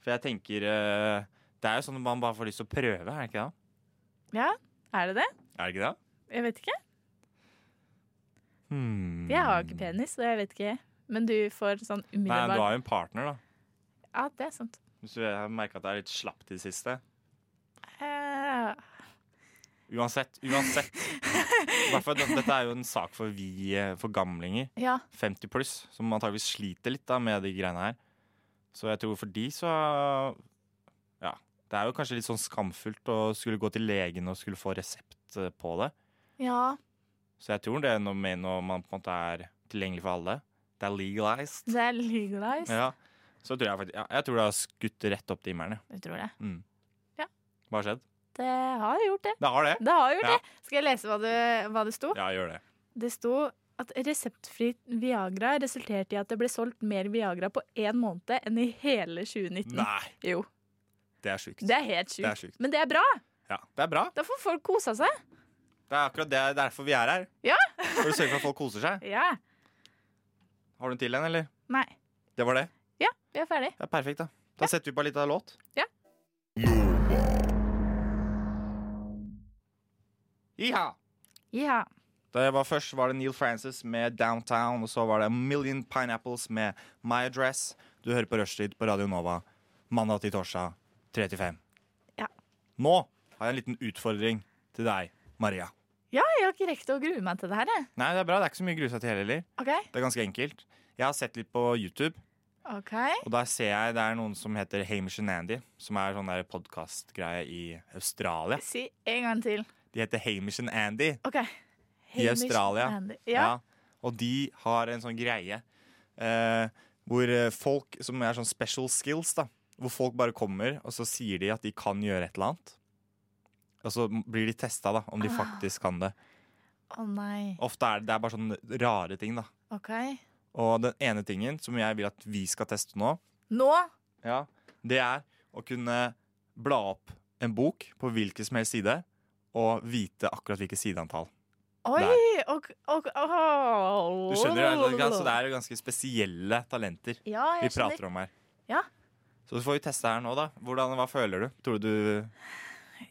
Speaker 2: For jeg tenker eh, Det er jo sånn at man bare får lyst til å prøve, er det ikke det?
Speaker 4: Ja, er det det?
Speaker 2: Er det ikke det?
Speaker 4: Jeg vet ikke.
Speaker 2: Hmm.
Speaker 4: Jeg har ikke penis, så jeg vet ikke. Men du får sånn
Speaker 2: Nei, du
Speaker 4: umiddelbart
Speaker 2: har jo en partner, da.
Speaker 4: Ja, det er sant.
Speaker 2: Hvis du har merka at det er litt slapt i det siste.
Speaker 4: Eh,
Speaker 2: Uansett, uansett. I hvert fall, det- dette er jo en sak for vi eh, for gamlinger.
Speaker 4: ja.
Speaker 2: 50 pluss, som antageligvis sliter litt da med de greiene her. Så jeg tror for de så Ja. Det er jo kanskje litt sånn skamfullt å skulle gå til legen og skulle få resept eh, på det.
Speaker 4: Ja.
Speaker 2: Så jeg tror det er noe med når man på en måte er tilgjengelig for alle. Det er legalized.
Speaker 4: Det er legalized.
Speaker 2: Ja. Så tror jeg faktisk ja, Jeg tror det har skutt rett opp til himmelen. ja.
Speaker 4: Jeg tror det.
Speaker 2: Mm.
Speaker 4: Ja.
Speaker 2: Hva har skjedd?
Speaker 4: Det har gjort det.
Speaker 2: Det har det.
Speaker 4: Det har gjort
Speaker 2: Ja.
Speaker 4: det. Skal jeg lese hva det, hva det sto?
Speaker 2: Ja, gjør det.
Speaker 4: Det sto at reseptfri Viagra resulterte i at det ble solgt mer Viagra på én måned enn i hele 2019.
Speaker 2: Nei,
Speaker 4: Jo,
Speaker 2: det er sjukt.
Speaker 4: det er helt
Speaker 2: Det er
Speaker 4: sjukt.
Speaker 2: sjukt.
Speaker 4: Men det er bra!
Speaker 2: Ja, det er bra.
Speaker 4: Da får folk kosa seg.
Speaker 2: Det er akkurat det, det er derfor vi er her.
Speaker 4: Ja.
Speaker 2: For å sørge for at folk koser seg.
Speaker 4: Ja.
Speaker 2: Har du en til en, eller?
Speaker 4: Nei.
Speaker 2: Det var det.
Speaker 4: Ja, vi er ferdig.
Speaker 2: Det er perfekt, da. Da setter vi på litt av låt.
Speaker 4: Ja.
Speaker 2: Iha!
Speaker 4: Ja.
Speaker 2: Da jeg var først, var det Neil Francis med 'Downtown', og så var det A Million Pineapples med 'My Address'. Du hører på Rushtid på Radio Nova mandag til torsdag 3 til 5.
Speaker 4: Ja.
Speaker 2: Nå har jeg en liten utfordring til deg, Maria.
Speaker 4: ja, jeg har ikke rekt å grue meg til det her, jeg.
Speaker 2: Nei, det er bra. Det er ikke så mye grusa til heller.
Speaker 4: OK?
Speaker 2: Det er ganske enkelt. Jeg har sett litt på YouTube.
Speaker 4: OK.
Speaker 2: Og der ser jeg det er noen som heter Hamish and Andy, som er sånn der podkastgreie i Australia.
Speaker 4: Si en gang til.
Speaker 2: De heter Hamish and Andy.
Speaker 4: OK.
Speaker 2: I
Speaker 4: Hamish
Speaker 2: Australia.
Speaker 4: Andy. Ja.
Speaker 2: Og de har en sånn greie eh, hvor eh, folk som er sånn special skills, da hvor folk bare kommer og så sier de at de kan gjøre et eller annet. Og så blir de testa da, om de
Speaker 4: Ah.
Speaker 2: faktisk kan det.
Speaker 4: Å nei.
Speaker 2: Ofte er det, det er bare sånne rare ting. da
Speaker 4: OK.
Speaker 2: Og den ene tingen som jeg vil at vi skal teste nå,
Speaker 4: Nå
Speaker 2: Ja, det er å kunne bla opp en bok på hvilken som helst side, og vite akkurat hvilket sideantall.
Speaker 4: Oi!
Speaker 2: Der.
Speaker 4: Og, og, åh.
Speaker 2: Du skjønner, det er- ikke sant? Så det er jo ganske spesielle talenter
Speaker 4: ja,
Speaker 2: vi
Speaker 4: jeg
Speaker 2: prater om her.
Speaker 4: Ja.
Speaker 2: Så får vi teste her nå, da. Hvordan, hva føler du? Tror du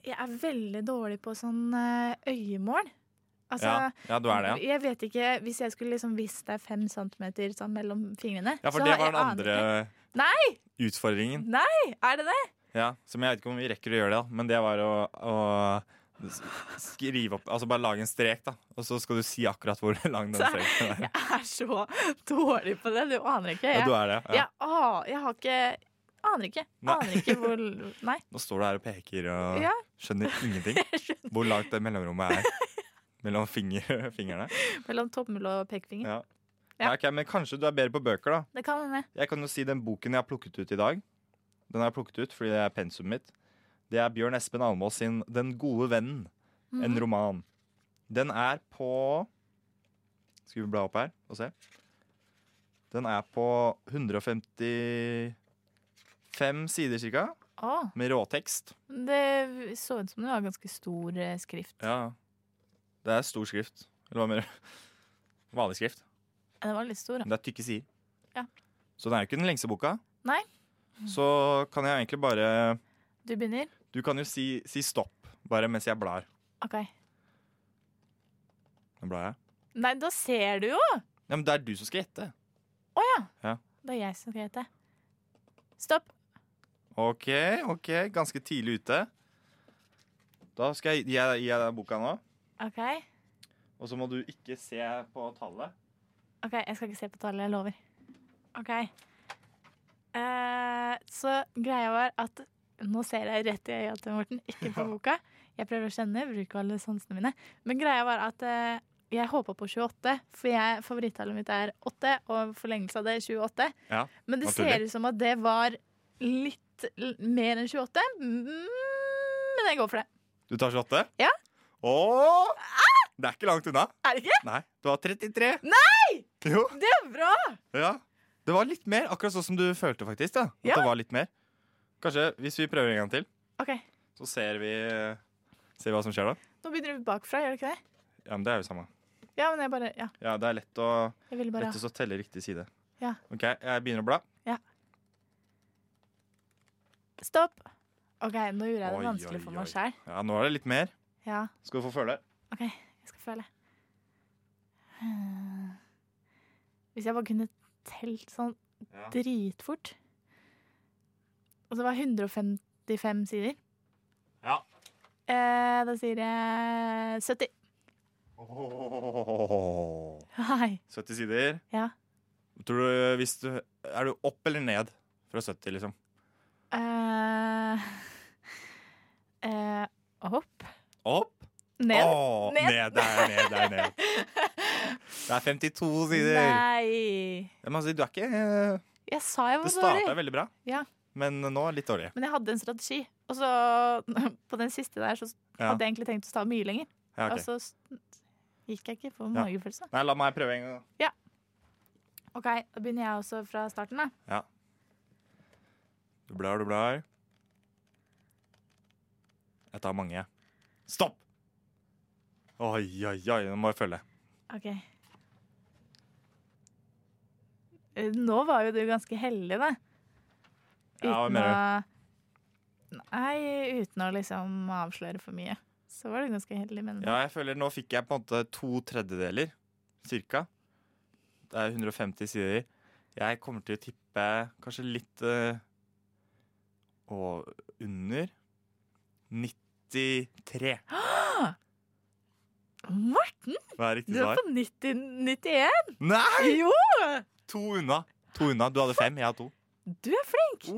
Speaker 4: Jeg er veldig dårlig på sånn eh, øyemål. Altså
Speaker 2: ja, ja, du er det, ja?
Speaker 4: Jeg vet ikke, Hvis jeg skulle liksom visst det er fem centimeter sånn mellom fingrene
Speaker 2: Ja, for
Speaker 4: så
Speaker 2: det
Speaker 4: har
Speaker 2: var
Speaker 4: jeg
Speaker 2: den
Speaker 4: aner
Speaker 2: andre
Speaker 4: Nei!
Speaker 2: utfordringen.
Speaker 4: ikke. Er det det?
Speaker 2: Ja, Som jeg vet ikke om vi rekker å gjøre det, da, men det var å, å s- skrive opp Altså bare lage en strek, da, og så skal du si akkurat hvor (laughs) lang den
Speaker 4: Så- (laughs)
Speaker 2: streken er.
Speaker 4: Jeg er så dårlig på det. Du aner ikke.
Speaker 2: Ja,
Speaker 4: Jeg,
Speaker 2: du er det. Ja.
Speaker 4: jeg, å, jeg har ikke Aner ikke.
Speaker 2: Nei.
Speaker 4: Aner
Speaker 2: (laughs)
Speaker 4: ikke hvor Nei.
Speaker 2: Nå står du her og peker og
Speaker 4: Ja.
Speaker 2: skjønner (laughs) ingenting. Hvor langt det mellomrommet er (laughs) mellom finger, (laughs) fingrene.
Speaker 4: Mellom tommel og pekefinger.
Speaker 2: Ja.
Speaker 4: Ja.
Speaker 2: Ja, ok, men kanskje du er bedre på bøker, da.
Speaker 4: Det kan hende.
Speaker 2: Jeg kan jo si den boken jeg har plukket ut i dag. Den har jeg plukket ut fordi det er pensumet mitt. Det er Bjørn Espen Almås sin 'Den gode vennen',
Speaker 4: Mm.
Speaker 2: en roman. Den er på Skal vi bla opp her og se? Den er på 155 sider cirka,
Speaker 4: Å,
Speaker 2: med råtekst.
Speaker 4: Ah, det så ut som det var ganske stor eh, skrift.
Speaker 2: Ja. Det er stor skrift. Eller hva mener du? (laughs) Vanlig skrift.
Speaker 4: Den var litt stor, da.
Speaker 2: Men det er tykke sider.
Speaker 4: Ja.
Speaker 2: Så den er jo ikke den lengste boka.
Speaker 4: Nei.
Speaker 2: Så kan jeg egentlig bare
Speaker 4: Du begynner?
Speaker 2: Du kan jo si, si stopp, bare mens jeg blar.
Speaker 4: OK.
Speaker 2: Nå blar jeg.
Speaker 4: Nei, da ser du jo!
Speaker 2: Ja, men det er du som skal gjette.
Speaker 4: Å ja.
Speaker 2: Ja.
Speaker 4: Det er jeg som skal hete. Stopp.
Speaker 2: OK, ok, ganske tidlig ute. Da skal jeg gi deg gi deg den boka nå.
Speaker 4: OK.
Speaker 2: Og så må du ikke se på tallet.
Speaker 4: Ok, Jeg skal ikke se på tallet, jeg lover. OK. Eh, så greia var at Nå ser jeg rett i øya til Morten, ikke på boka. Jeg prøver å kjenne, bruker alle sansene mine. Men greia var at eh, jeg håpa på 28, for jeg, favorittallet mitt er 8, og forlengelse av det er 28.
Speaker 2: Ja,
Speaker 4: Men det
Speaker 2: naturlig.
Speaker 4: ser ut som at det var litt l- mer enn 28. Mm, men jeg går for det.
Speaker 2: Du tar 28?
Speaker 4: Ja.
Speaker 2: Åh! Det er ikke langt unna.
Speaker 4: Er det ikke?
Speaker 2: Nei, du har 33. Nei! Jo,
Speaker 4: Det er bra!
Speaker 2: ja. Det var litt mer, akkurat sånn som du følte faktisk. da. At
Speaker 4: Ja.
Speaker 2: det var litt mer. Kanskje hvis vi prøver en gang til,
Speaker 4: OK,
Speaker 2: så ser vi, ser vi hva som skjer da.
Speaker 4: nå begynner vi bakfra, gjør det ikke det?
Speaker 2: Ja, men det er jo samme.
Speaker 4: Ja, men jeg bare Ja,
Speaker 2: Ja, det er lett å,
Speaker 4: jeg ville bare
Speaker 2: lett å telle riktig side.
Speaker 4: Ja.
Speaker 2: Ok, jeg begynner å bla.
Speaker 4: Stopp! OK, nå gjorde jeg
Speaker 2: Oi,
Speaker 4: det vanskelig
Speaker 2: oi,
Speaker 4: for
Speaker 2: oi.
Speaker 4: meg sjæl.
Speaker 2: Ja, nå er det litt mer.
Speaker 4: Ja,
Speaker 2: Skal du få føle.
Speaker 4: OK, jeg skal føle. Hmm. Hvis jeg bare kunne telt sånn
Speaker 2: Ja.
Speaker 4: dritfort Og det var 155 sider.
Speaker 2: Ja.
Speaker 4: Eh, da sier jeg 70.
Speaker 2: Åh.
Speaker 4: Hei.
Speaker 2: 70 sider.
Speaker 4: Ja.
Speaker 2: Tror du, hvis du, er du opp eller ned fra 70, liksom?
Speaker 4: eh eh, opp?
Speaker 2: Opp?
Speaker 4: Ned?
Speaker 2: Åh,
Speaker 4: Ned.
Speaker 2: ned. Det er ned, det er
Speaker 4: (laughs)
Speaker 2: ned. Det er 52 sider.
Speaker 4: Nei!
Speaker 2: Jeg må si, du er ikke eh,
Speaker 4: Jeg sa jeg
Speaker 2: Det
Speaker 4: var
Speaker 2: starta
Speaker 4: dårlig,
Speaker 2: veldig bra,
Speaker 4: Ja.
Speaker 2: men nå er det litt dårlig.
Speaker 4: men jeg hadde en strategi. Og så, (laughs) på den siste der, så
Speaker 2: Ja.
Speaker 4: hadde jeg egentlig tenkt å ta mye lenger.
Speaker 2: Ja, ok.
Speaker 4: Og så s- gikk jeg ikke for
Speaker 2: Ja.
Speaker 4: magefølelse.
Speaker 2: Nei, la meg prøve en gang. da.
Speaker 4: OK, da begynner jeg også fra starten, da.
Speaker 2: Du blar, du blar. Jeg tar mange. Stopp! Oi, oi, oi, nå må jeg følge.
Speaker 4: OK. Eh, Nå var jo du ganske heldig, da.
Speaker 2: Ja, hva mener
Speaker 4: å Nei, uten å liksom avsløre for mye. Så var du ganske heldig, men
Speaker 2: Ja, jeg føler nå fikk jeg på en måte to tredjedeler, cirka. Det er 150 sider. Jeg kommer til å tippe kanskje litt eh, og under 93.
Speaker 4: Morten,
Speaker 2: Hva er
Speaker 4: du
Speaker 2: riktig
Speaker 4: er
Speaker 2: svar?
Speaker 4: på 90, 91!
Speaker 2: Nei!
Speaker 4: Jo!
Speaker 2: To unna. To unna. Du hadde fem, jeg hadde to.
Speaker 4: Du er flink!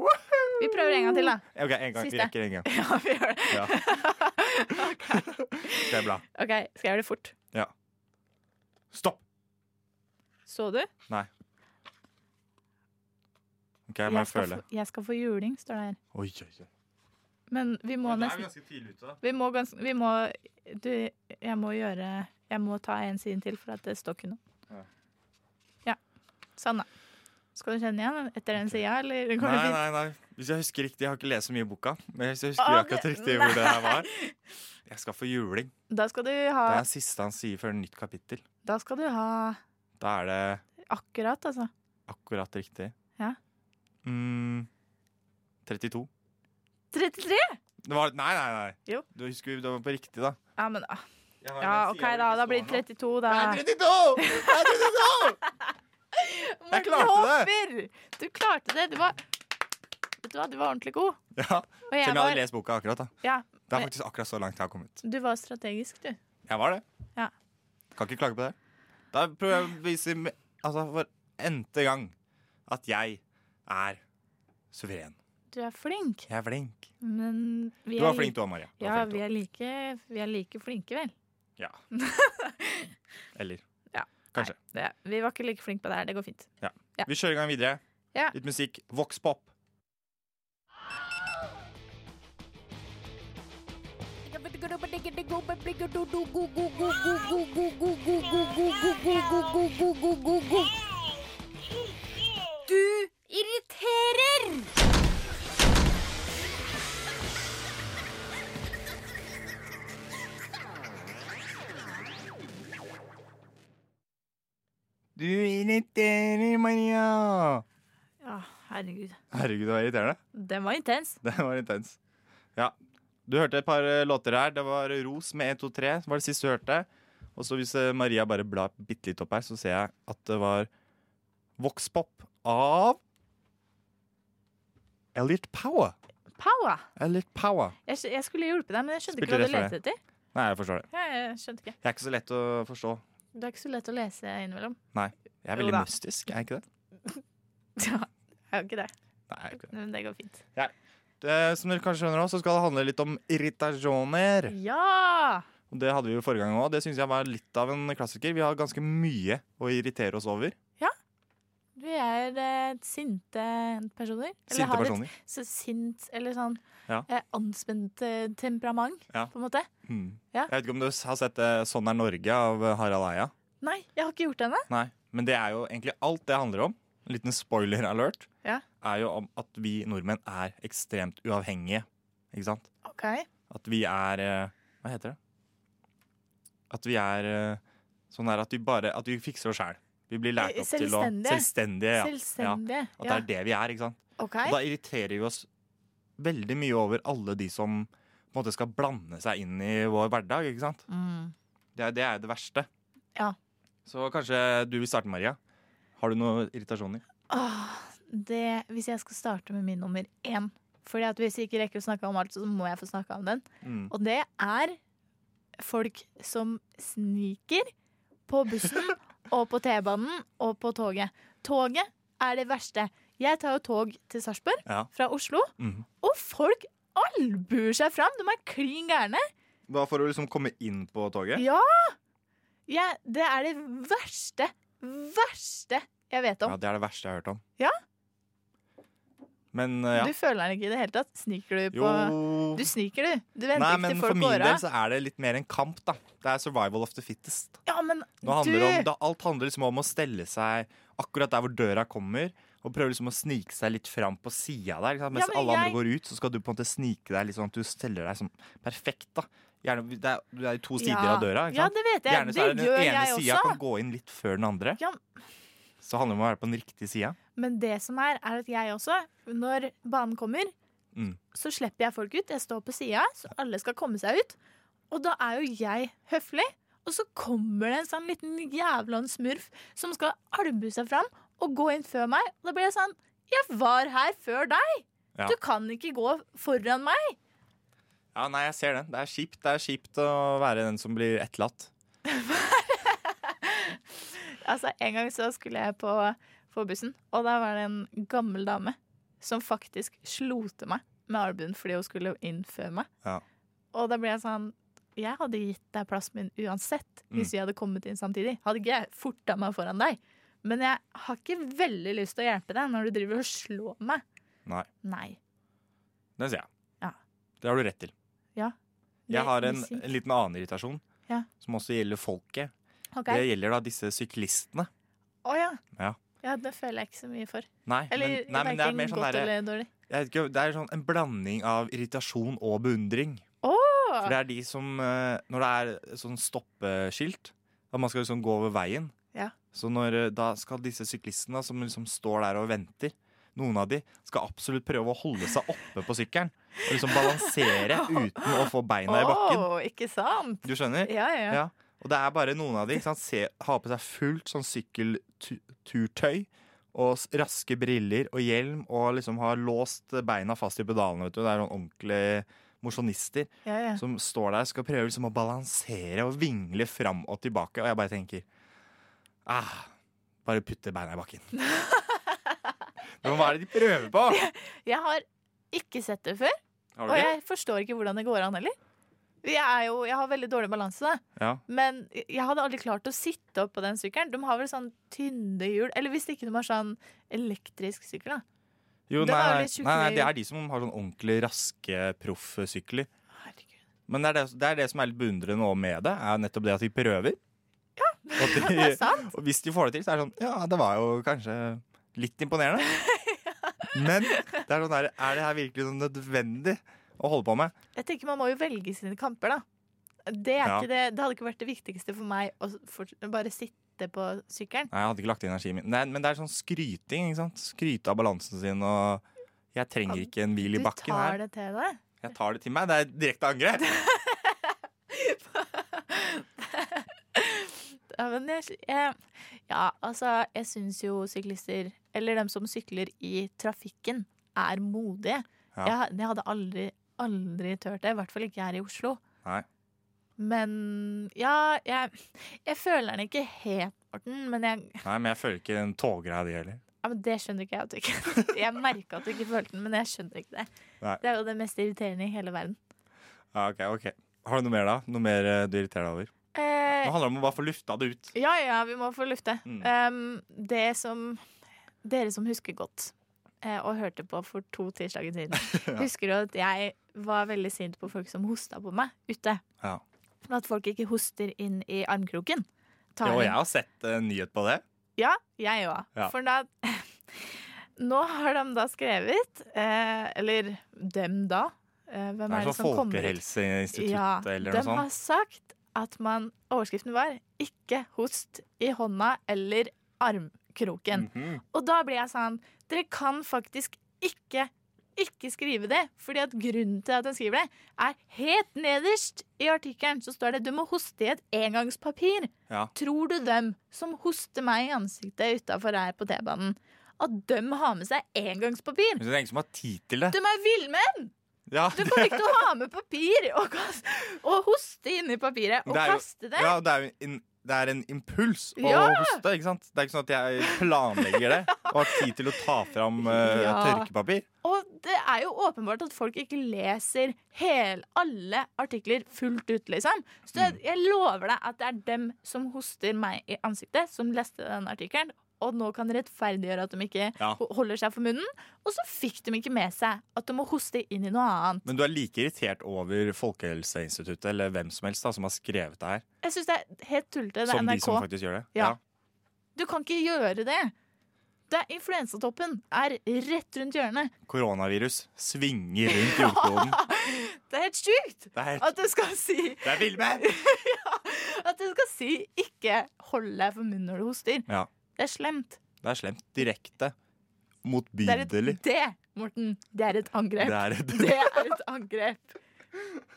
Speaker 4: Vi prøver en gang til, da.
Speaker 2: Ok, en gang.
Speaker 4: Siste.
Speaker 2: Vi rekker en gang.
Speaker 4: (laughs) Ja, vi gjør det.
Speaker 2: Ja. Det er bra.
Speaker 4: OK, skal jeg gjøre det fort?
Speaker 2: Stopp!
Speaker 4: Så du?
Speaker 2: Ok, jeg må
Speaker 4: jeg, skal
Speaker 2: føle.
Speaker 4: få, jeg skal få juling, står det her.
Speaker 2: Oi, oi, oi.
Speaker 4: Men vi må nesten
Speaker 2: ganske tidlig ute.
Speaker 4: Vi må ganske Vi må Du, jeg må gjøre Jeg må ta en side til, for at det står ikke noe.
Speaker 2: Ja.
Speaker 4: Ja. Sånn, da. Skal du kjenne igjen etter den sida, eller går
Speaker 2: Nei,
Speaker 4: det fint?
Speaker 2: nei, nei. Hvis jeg husker riktig, jeg har ikke lest så mye i boka. Men hvis jeg husker
Speaker 4: Å,
Speaker 2: akkurat
Speaker 4: det-
Speaker 2: riktig hvor det her var
Speaker 4: Nei.
Speaker 2: Jeg skal få juling.
Speaker 4: Da skal du ha
Speaker 2: Det er siste han sier før nytt kapittel.
Speaker 4: Da skal du ha
Speaker 2: Da er det
Speaker 4: akkurat, altså.
Speaker 2: akkurat riktig.
Speaker 4: Ja.
Speaker 2: Mm, 32.
Speaker 4: 33!
Speaker 2: Det var Nei, nei, nei.
Speaker 4: Jo.
Speaker 2: Du husker det var på riktig, da.
Speaker 4: Ja, men ah, Ja, OK, da. Da blir det 32, da.
Speaker 2: Det er 32! Det er
Speaker 4: (laughs)
Speaker 2: 32! Jeg klarte
Speaker 4: det! Du klarte det. Du var Vet du hva, du var ordentlig god.
Speaker 2: Ja,
Speaker 4: Og
Speaker 2: Selv
Speaker 4: jeg
Speaker 2: om jeg hadde
Speaker 4: var
Speaker 2: lest boka akkurat. da
Speaker 4: Ja.
Speaker 2: Det er
Speaker 4: men-
Speaker 2: faktisk akkurat så langt jeg har kommet.
Speaker 4: Du var strategisk, du.
Speaker 2: Jeg var det.
Speaker 4: Ja.
Speaker 2: Kan ikke klage på det. Da prøver jeg å vise med- altså, for n-te gang at jeg er suveren.
Speaker 4: Du er flink,
Speaker 2: Jeg er flink.
Speaker 4: men vi
Speaker 2: Du var
Speaker 4: er
Speaker 2: flink du òg, Maria. Du var
Speaker 4: Ja,
Speaker 2: flink, du
Speaker 4: vi er like, vi er like flinke, vel.
Speaker 2: Ja. Eller
Speaker 4: Ja.
Speaker 2: kanskje.
Speaker 4: Nei, det, vi var ikke like flinke på det her. Det går fint. Ja.
Speaker 2: Vi kjører i gang videre.
Speaker 4: Ja.
Speaker 2: Litt musikk. Voxpop.
Speaker 5: Du irriterer!
Speaker 2: Du irriterer, Maria.
Speaker 4: Ja, herregud.
Speaker 2: Herregud, det var irriterende. (laughs)
Speaker 4: Den var intens.
Speaker 2: Det var intens. Du hørte et par eh, låter her. Det var Ros med 123, var det siste du hørte. Og så hvis eh, Maria bare blar bitte litt opp her, så ser jeg at det var Voxpop av Elliot Power.
Speaker 4: Power!
Speaker 2: Elliot Power.
Speaker 4: Jeg, skj- jeg skulle hjulpet deg, men jeg skjønte
Speaker 2: Spilte
Speaker 4: ikke hva du
Speaker 2: rett for
Speaker 4: lette etter.
Speaker 2: Nei, jeg forstår det.
Speaker 4: Ja, jeg skjønte ikke.
Speaker 2: Jeg er ikke så lett å forstå.
Speaker 4: Det er ikke så lett å lese innimellom. (laughs)
Speaker 2: Jeg er
Speaker 4: Jo
Speaker 2: veldig
Speaker 4: da.
Speaker 2: mystisk, er jeg ikke det?
Speaker 4: Ja, jeg er jo ikke det,
Speaker 2: Nei, jeg er ikke det.
Speaker 4: men det går fint.
Speaker 2: det. Som dere kanskje skjønner også, så skal det handle litt om irritasjoner.
Speaker 4: Ja!
Speaker 2: Og Det hadde vi jo forrige gang òg. Det syns jeg var litt av en klassiker. Vi har ganske mye å irritere oss over.
Speaker 4: Vi er eh, sinte personer. Eller
Speaker 2: Sinte
Speaker 4: har et
Speaker 2: personer.
Speaker 4: så sint eller sånn
Speaker 2: Ja.
Speaker 4: eh, anspent eh, temperament,
Speaker 2: Ja.
Speaker 4: på en måte.
Speaker 2: Hmm.
Speaker 4: Ja.
Speaker 2: Jeg vet ikke om du har sett eh, 'Sånn er Norge' av eh, Harald Eia.
Speaker 4: Nei, jeg har ikke gjort det ennå.
Speaker 2: Nei, Men det er jo egentlig alt det handler om. En liten spoiler alert.
Speaker 4: Ja.
Speaker 2: Er jo om at vi nordmenn er ekstremt uavhengige. Ikke sant?
Speaker 4: Okay.
Speaker 2: At vi er eh, Hva heter det? At vi er eh, sånn her at vi bare At vi fikser oss sjæl. Vi blir lært opp til å
Speaker 4: Selvstendige.
Speaker 2: Selvstendige. Ja.
Speaker 4: Selvstendige.
Speaker 2: At det er det vi er. ikke sant?
Speaker 4: OK.
Speaker 2: Og da irriterer vi oss veldig mye over alle de som på en måte skal blande seg inn i vår hverdag. ikke sant?
Speaker 4: Mm.
Speaker 2: Det er det, er jo det verste.
Speaker 4: Ja.
Speaker 2: Så kanskje du vil starte, Maria. Har du noen irritasjoner?
Speaker 4: Åh, det, hvis jeg skal starte med min nummer én Fordi at Hvis jeg ikke rekker å snakke om alt, så må jeg få snakke om den.
Speaker 2: Mm.
Speaker 4: Og det er folk som sniker på
Speaker 2: (laughs)
Speaker 4: bussen og på T-banen og på toget. Toget er det verste. Jeg tar jo tog til Sarpsborg
Speaker 2: Ja.
Speaker 4: fra Oslo,
Speaker 2: Mhm.
Speaker 4: og folk albuer seg fram! De er klin gærne.
Speaker 2: Hva for å liksom komme inn på toget?
Speaker 4: Ja! Jeg- det er det verste, verste jeg vet om.
Speaker 2: Ja, Det er det verste jeg har hørt om.
Speaker 4: Ja.
Speaker 2: Men eh, ja.
Speaker 4: Du føler den ikke i det hele tatt. Sniker du på
Speaker 2: Jo
Speaker 4: Du sniker, du. Du venter
Speaker 2: Nei,
Speaker 4: ikke
Speaker 2: men
Speaker 4: til
Speaker 2: for
Speaker 4: folk
Speaker 2: min
Speaker 4: går
Speaker 2: del
Speaker 4: av.
Speaker 2: så er det litt mer en kamp, da. Det er survival of the fittest.
Speaker 4: Ja, men
Speaker 2: Nå handler
Speaker 4: du
Speaker 2: det om, da, alt handler liksom om å stelle seg akkurat der hvor døra kommer, og prøve liksom å snike seg litt fram på sida der. Ikke sant? Mens
Speaker 4: men
Speaker 2: alle
Speaker 4: jeg-
Speaker 2: andre går ut, så skal du på en måte snike deg litt sånn at du steller deg sånn perfekt. da. Gjerne, det er, du er jo to sider
Speaker 4: ja.
Speaker 2: av døra. ikke
Speaker 4: Ja,
Speaker 2: sant?
Speaker 4: det vet jeg.
Speaker 2: Gjerne så er det
Speaker 4: gjør
Speaker 2: den ene
Speaker 4: jeg
Speaker 2: sida
Speaker 4: også.
Speaker 2: kan gå inn litt før den andre.
Speaker 4: Ja.
Speaker 2: Så handler det om å være på den riktige sida.
Speaker 4: Men det som er, er at jeg også, når banen kommer,
Speaker 2: Mm.
Speaker 4: så slipper jeg folk ut. Jeg står på sida, så alle skal komme seg ut. Og da er jo jeg høflig. Og så kommer det en sånn liten jævla smurf som skal albue seg fram og gå inn før meg. Og da blir jeg sånn Jeg var her før deg!
Speaker 2: Ja.
Speaker 4: Du kan ikke gå foran meg!
Speaker 2: Ja, nei, jeg ser den. Det er kjipt. Det er kjipt å være den som blir etterlatt.
Speaker 4: Altså, en gang så skulle jeg på, på bussen, og da var det en gammel dame som faktisk slo til meg med albuen fordi hun skulle inn før meg.
Speaker 2: Ja.
Speaker 4: Og da ble jeg sånn Jeg hadde gitt deg plassen min uansett hvis
Speaker 2: Mm.
Speaker 4: vi hadde kommet inn samtidig. Hadde ikke jeg forta meg foran deg. Men jeg har ikke veldig lyst til å hjelpe deg når du driver og slår meg.
Speaker 2: Nei.
Speaker 4: Nei.
Speaker 2: Det ser jeg.
Speaker 4: Ja.
Speaker 2: Det har du rett til.
Speaker 4: Det
Speaker 2: Jeg har
Speaker 4: blir
Speaker 2: en,
Speaker 4: sint.
Speaker 2: en liten annen irritasjon,
Speaker 4: Ja.
Speaker 2: som også gjelder folket.
Speaker 4: Ok.
Speaker 2: Det gjelder da disse syklistene.
Speaker 4: Å ja.
Speaker 2: Ja.
Speaker 4: Ja, det føler jeg ikke så mye for.
Speaker 2: Nei,
Speaker 4: Eller
Speaker 2: men, nei, men det er
Speaker 4: verken
Speaker 2: mer sånn
Speaker 4: godt
Speaker 2: derre-
Speaker 4: eller dårlig.
Speaker 2: jeg vet ikke, Det er sånn en blanding av irritasjon og beundring.
Speaker 4: Åh!
Speaker 2: For det er de som eh, Når det er sånn stoppeskilt, at man skal liksom gå over veien
Speaker 4: Ja.
Speaker 2: Så når, eh, da skal disse syklistene som liksom står der og venter noen av de skal absolutt prøve å holde seg oppe på sykkelen. Og liksom
Speaker 4: (laughs)
Speaker 2: balansere uten å få beina i bakken.
Speaker 4: Åh, ikke sant?
Speaker 2: Du skjønner?
Speaker 4: Ja, ja, ja.
Speaker 2: Ja. Og det er bare noen av de. Ikke sant? Se, har på seg fullt sånn sykkelturtøy og s- raske briller og hjelm og liksom har låst beina fast i pedalene. Vet du. Det er sånn ordentlige mosjonister
Speaker 4: ja, ja.
Speaker 2: som står der skal prøve liksom å balansere og vingle fram og tilbake. Og jeg bare tenker ah, Bare putte beina
Speaker 4: (laughs)
Speaker 2: i bakken. Men hva er det de prøver på?
Speaker 4: Jeg har ikke sett det før,
Speaker 2: Har
Speaker 4: og
Speaker 2: du det?
Speaker 4: jeg forstår ikke hvordan det går an heller. Jeg, er jo, jeg har veldig dårlig balanse, da.
Speaker 2: Ja.
Speaker 4: men jeg hadde aldri klart å sitte opp på den sykkelen. De har vel sånn tynne hjul, eller hvis ikke de har sånn elektrisk sykkel, da.
Speaker 2: Jo,
Speaker 4: Det
Speaker 2: nei,
Speaker 4: var
Speaker 2: nei,
Speaker 4: litt tjukke
Speaker 2: nei, nei, det
Speaker 4: hjul.
Speaker 2: er de som har sånn ordentlig raske proffsykler.
Speaker 4: Herregud.
Speaker 2: Men det er det, det er det som er litt beundrende også med det, er nettopp det at de prøver. Og,
Speaker 4: (laughs)
Speaker 2: at
Speaker 4: Det
Speaker 2: (laughs)
Speaker 4: er
Speaker 2: de,
Speaker 4: sant.
Speaker 2: og hvis de får det til, så er det sånn Ja, det var jo kanskje litt
Speaker 4: (laughs)
Speaker 2: imponerende. Men det er, sånn der, er det her virkelig sånn nødvendig å holde på med?
Speaker 4: Jeg tenker man må jo velge sine kamper, da. Det, er
Speaker 2: Ja.
Speaker 4: ikke det, det hadde ikke vært det viktigste for meg å s- for, bare sitte på sykkelen.
Speaker 2: Nei, jeg hadde ikke lagt energien min. Nei, men det er sånn skryting. ikke sant? Skryte av balansen sin og Jeg trenger ikke en
Speaker 4: Du
Speaker 2: hvil i bakken
Speaker 4: tar
Speaker 2: her.
Speaker 4: det til deg.
Speaker 2: Jeg tar det til meg. Det er et direkte angrep.
Speaker 4: (laughs) Ja, men jeg, jeg, ja, altså, jeg syns jo syklister, eller dem som sykler i trafikken, er modige.
Speaker 2: Ja.
Speaker 4: Jeg, jeg hadde aldri, aldri turt det, i hvert fall ikke her i Oslo.
Speaker 2: Nei.
Speaker 4: Men ja, jeg, jeg føler den ikke helt, Morten, men, jeg,
Speaker 2: Nei, men jeg føler ikke den toggreia di heller.
Speaker 4: ja, men det skjønner ikke jeg at du ikke (laughs) Jeg merka at du ikke følte den, men jeg skjønner ikke det.
Speaker 2: Nei.
Speaker 4: Det er jo det mest irriterende i hele verden.
Speaker 2: Ja, ok, ok. Har du noe mer, da? Noe mer eh, du irriterer deg over?
Speaker 4: Eh,
Speaker 2: Nå handler det om å bare få lufta det ut.
Speaker 4: Ja, ja, vi må få lufte.
Speaker 2: Mm.
Speaker 4: Um, det som Dere som husker godt eh, og hørte på for to tirsdager
Speaker 2: (laughs)
Speaker 4: siden, husker du at jeg var veldig sint på folk som hosta på meg ute?
Speaker 2: Ja.
Speaker 4: Men At folk ikke hoster inn i armkroken. Tar
Speaker 2: Jo,
Speaker 4: en-
Speaker 2: jeg har sett en nyhet på det.
Speaker 4: ja, jeg òg.
Speaker 2: Ja.
Speaker 4: For da (laughs) Nå har de da skrevet, eh, eller dem da eh, Hvem
Speaker 2: Det
Speaker 4: er det
Speaker 2: er
Speaker 4: som
Speaker 2: sånn
Speaker 4: kommer ut?
Speaker 2: Folkehelseinstituttet eller noe
Speaker 4: de har
Speaker 2: sånt.
Speaker 4: sagt at man Overskriften var 'ikke host i hånda eller armkroken'.
Speaker 2: Mhm.
Speaker 4: Og da blir jeg sånn Dere kan faktisk ikke ikke skrive det, fordi at grunnen til at den skriver det, er helt nederst i artikkelen så står det 'du må hoste i et engangspapir'.
Speaker 2: Ja.
Speaker 4: Tror du dem som hoster meg i ansiktet utafor her på T-banen, at dem har med seg engangspapir?
Speaker 2: Hvis du tenker som har tid til det
Speaker 4: De er villmenn!
Speaker 2: ja.
Speaker 4: Du kommer ikke til å ha med papir og, kast, og hoste inni papiret og
Speaker 2: Det er jo-
Speaker 4: kaste det.
Speaker 2: (laughs) Ja, det er jo en, det er en impuls å
Speaker 4: Ja!
Speaker 2: hoste, ikke sant? Det er ikke sånn at jeg planlegger det og har tid til å ta fram
Speaker 4: (laughs)
Speaker 2: eh,
Speaker 4: Ja.
Speaker 2: tørkepapir.
Speaker 4: Og det er jo åpenbart at folk ikke leser hel, alle artikler fullt ut, liksom. Så jeg,
Speaker 2: Mm.
Speaker 4: jeg lover deg at det er dem som hoster meg i ansiktet, som leste den artikkelen. Og nå kan rettferdiggjøre at de ikke
Speaker 2: Ja.
Speaker 4: ho- holder seg for munnen. Og så fikk de ikke med seg at de må hoste inn i noe annet.
Speaker 2: Men du er like irritert over Folkehelseinstituttet eller hvem som helst da, som har skrevet det her,
Speaker 4: Jeg syns det er helt tullete. Det er
Speaker 2: som de
Speaker 4: NRK.
Speaker 2: som faktisk gjør det.
Speaker 4: Ja. Du kan ikke gjøre det. Det er Influensatoppen er rett rundt hjørnet.
Speaker 2: Koronavirus svinger rundt jordkloden.
Speaker 4: Det er helt sjukt
Speaker 2: Det er,
Speaker 4: (laughs) at du skal si
Speaker 2: det er villmenn!
Speaker 4: At du skal si ikke hold deg for munnen når du hoster.
Speaker 2: Ja.
Speaker 4: Det er slemt.
Speaker 2: Det er slemt. Direkte.
Speaker 4: (laughs) Det er et
Speaker 2: Motbydelig.
Speaker 4: det, Morten. Det er et
Speaker 2: Det
Speaker 4: angrep.
Speaker 2: er
Speaker 4: (laughs)
Speaker 2: et
Speaker 4: Det er et angrep.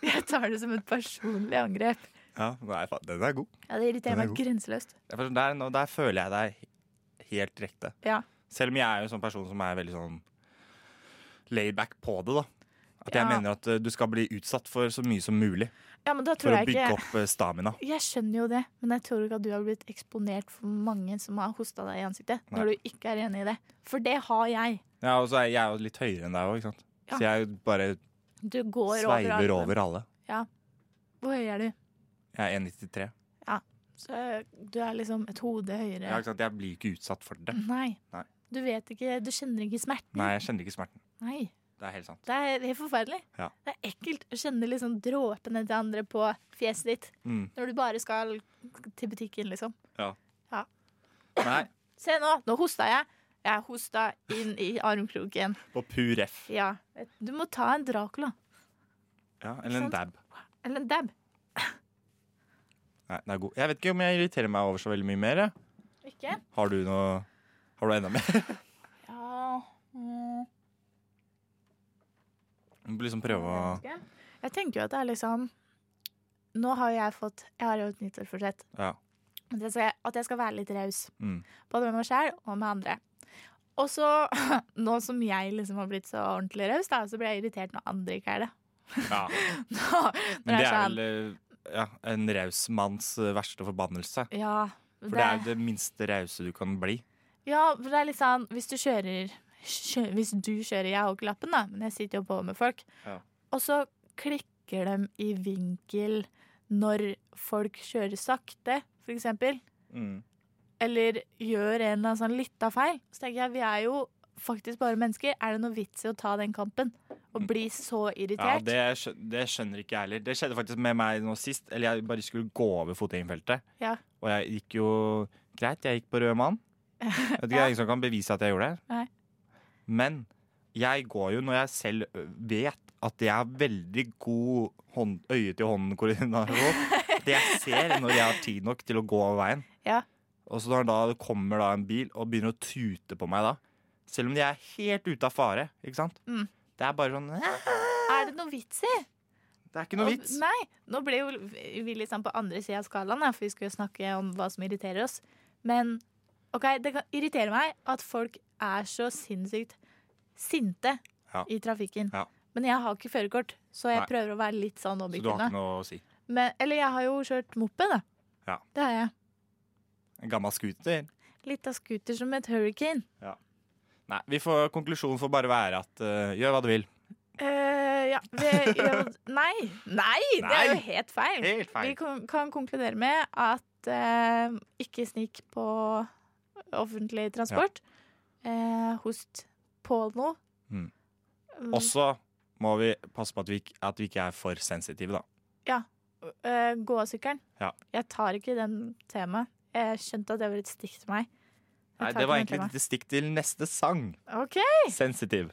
Speaker 4: Jeg tar det som et personlig angrep.
Speaker 2: Ja, nei, faen, den er god.
Speaker 4: Ja, Det
Speaker 2: Den
Speaker 4: irriterer
Speaker 2: er
Speaker 4: meg
Speaker 2: god.
Speaker 4: grenseløst.
Speaker 2: Jeg forstår- Der, nå- der føler jeg deg he- helt direkte.
Speaker 4: Ja.
Speaker 2: Selv om jeg er jo en sånn person som er veldig sånn laid back på det, da. At jeg
Speaker 4: Ja.
Speaker 2: mener at eh, du skal bli utsatt for så mye som mulig
Speaker 4: ja, men da
Speaker 2: for
Speaker 4: tror
Speaker 2: å
Speaker 4: jeg
Speaker 2: bygge
Speaker 4: ikke
Speaker 2: opp eh, stamina.
Speaker 4: Jeg skjønner jo det, men jeg tror ikke at du har blitt eksponert for mange som har hosta deg i ansiktet,
Speaker 2: Nei.
Speaker 4: når du ikke er enig i det. For det har jeg.
Speaker 2: Ja, og så er jeg er jo litt høyere enn deg òg, ikke sant.
Speaker 4: Ja.
Speaker 2: Så jeg bare
Speaker 4: Du går
Speaker 2: sveiver
Speaker 4: over.
Speaker 2: over alle.
Speaker 4: Hvor høy er du?
Speaker 2: Jeg er 1,93.
Speaker 4: Så du er liksom et hode høyere.
Speaker 2: Ja, ikke sant? Jeg blir ikke utsatt for det.
Speaker 4: Nei.
Speaker 2: Nei.
Speaker 4: Du vet ikke, du kjenner ikke smerten.
Speaker 2: Nei, jeg kjenner ikke smerten.
Speaker 4: Nei.
Speaker 2: Det er helt sant.
Speaker 4: Det er helt forferdelig.
Speaker 2: Ja.
Speaker 4: Det er ekkelt å kjenne liksom dråpene til andre på fjeset ditt
Speaker 2: Mm.
Speaker 4: når du bare skal til butikken, liksom.
Speaker 2: Nei,
Speaker 4: Se nå, nå hosta jeg. Jeg hosta inn i armkroken.
Speaker 2: og pur F.
Speaker 4: Ja. Du må ta en Dracula.
Speaker 2: Ja, eller en
Speaker 4: Sant.
Speaker 2: dab.
Speaker 4: Eller en dab.
Speaker 2: Nei, den er god. Jeg vet ikke om jeg irriterer meg over så veldig mye mer. jeg.
Speaker 4: Ikke?
Speaker 2: Har du noe Har du enda mer?
Speaker 4: (laughs) Ja. mm,
Speaker 2: Du må liksom prøve å
Speaker 4: Jeg tenker jo at det er liksom Nå har jeg fått Jeg har jo et nyttårsforsett.
Speaker 2: Ja.
Speaker 4: At jeg skal, at jeg skal være litt raus.
Speaker 2: Mm.
Speaker 4: Både med meg selv og med andre. Og så, (laughs) nå som jeg liksom har blitt så ordentlig raus, da, så blir jeg irritert når andre ikke er det.
Speaker 2: ja.
Speaker 4: Nå, når
Speaker 2: Men det
Speaker 4: jeg
Speaker 2: er
Speaker 4: sånn,
Speaker 2: vel eh, ja, en raus manns eh, verste forbannelse.
Speaker 4: Ja,
Speaker 2: For det er jo det minste rause du kan bli.
Speaker 4: ja, for det er litt sånn Hvis du kjører kjø, Hvis du kjører Jeg har jo ikke lappen, da, men jeg sitter jo på med folk.
Speaker 2: Ja.
Speaker 4: Og så klikker de i vinkel når folk kjører sakte, for eksempel. eller gjør en eller annen sånn lita feil, så tenker jeg vi er jo faktisk bare mennesker. Er det noe vits i å ta den kampen? Og bli så
Speaker 2: Ja,
Speaker 4: irritert?
Speaker 2: det, skjø- det skjønner ikke jeg heller. Det skjedde faktisk med meg nå sist. Eller jeg bare skulle gå over fotgjengerfeltet.
Speaker 4: Ja.
Speaker 2: Og jeg gikk jo greit. Jeg gikk på rød
Speaker 4: (laughs)
Speaker 2: mann. Jeg vet ikke, det er ingen som kan bevise at jeg gjorde det.
Speaker 4: Nei.
Speaker 2: Men jeg går jo når jeg selv ø, vet at jeg har veldig god hånd,
Speaker 4: (laughs)
Speaker 2: øye-til-hånden-koordinasjon. Det sånn, jeg ser når jeg har tid nok til å gå over veien.
Speaker 4: Ja.
Speaker 2: Og så når da det kommer da en bil og begynner å tute på meg da, selv om de er helt ute av fare, ikke sant?
Speaker 4: Mm.
Speaker 2: Det er bare sånn
Speaker 4: Er det noe vits i?
Speaker 2: Det er ikke noe
Speaker 4: Og-
Speaker 2: vits.
Speaker 4: Nei, nå ble jo vi litt sånn på andre sida av skalaen, da, for vi skulle jo snakke om hva som irriterer oss. Men OK, det kan irritere meg at folk er så sinnssykt sinte
Speaker 2: Ja.
Speaker 4: i trafikken.
Speaker 2: Ja.
Speaker 4: Men jeg har ikke førerkort, så jeg
Speaker 2: Nei.
Speaker 4: prøver å være litt sånn
Speaker 2: Så du har
Speaker 4: objektiv.
Speaker 2: ikke
Speaker 4: nå.
Speaker 2: noe å si.
Speaker 4: Men, eller jeg har jo kjørt moppe, da.
Speaker 2: Ja.
Speaker 4: Det har jeg.
Speaker 2: En gammel scooter.
Speaker 4: Litt av scooter som et hurricane.
Speaker 2: Nei, vi får, konklusjonen får bare være at eh, gjør hva du vil.
Speaker 4: Eh, ja.
Speaker 2: (laughs)
Speaker 4: Vi, jo, nei. nei! Det er jo
Speaker 2: Nei.
Speaker 4: helt feil.
Speaker 2: Helt feil.
Speaker 4: Vi kan, kan konkludere med at eh, ikke snik på offentlig transport. Eh, host på noe.
Speaker 2: Mm.
Speaker 4: Mm,
Speaker 2: Også må vi passe på at vi, ikk- at vi ikke er for sensitive, da.
Speaker 4: eh, gå av sykkelen.
Speaker 2: Ja.
Speaker 4: Jeg tar ikke den temaet. Jeg skjønte at det var et stikk til meg. Jeg tar
Speaker 2: Nei, det
Speaker 4: ikke
Speaker 2: var
Speaker 4: den
Speaker 2: egentlig et
Speaker 4: temaet.
Speaker 2: lite stikk til neste sang.
Speaker 4: OK.
Speaker 2: Sensitiv.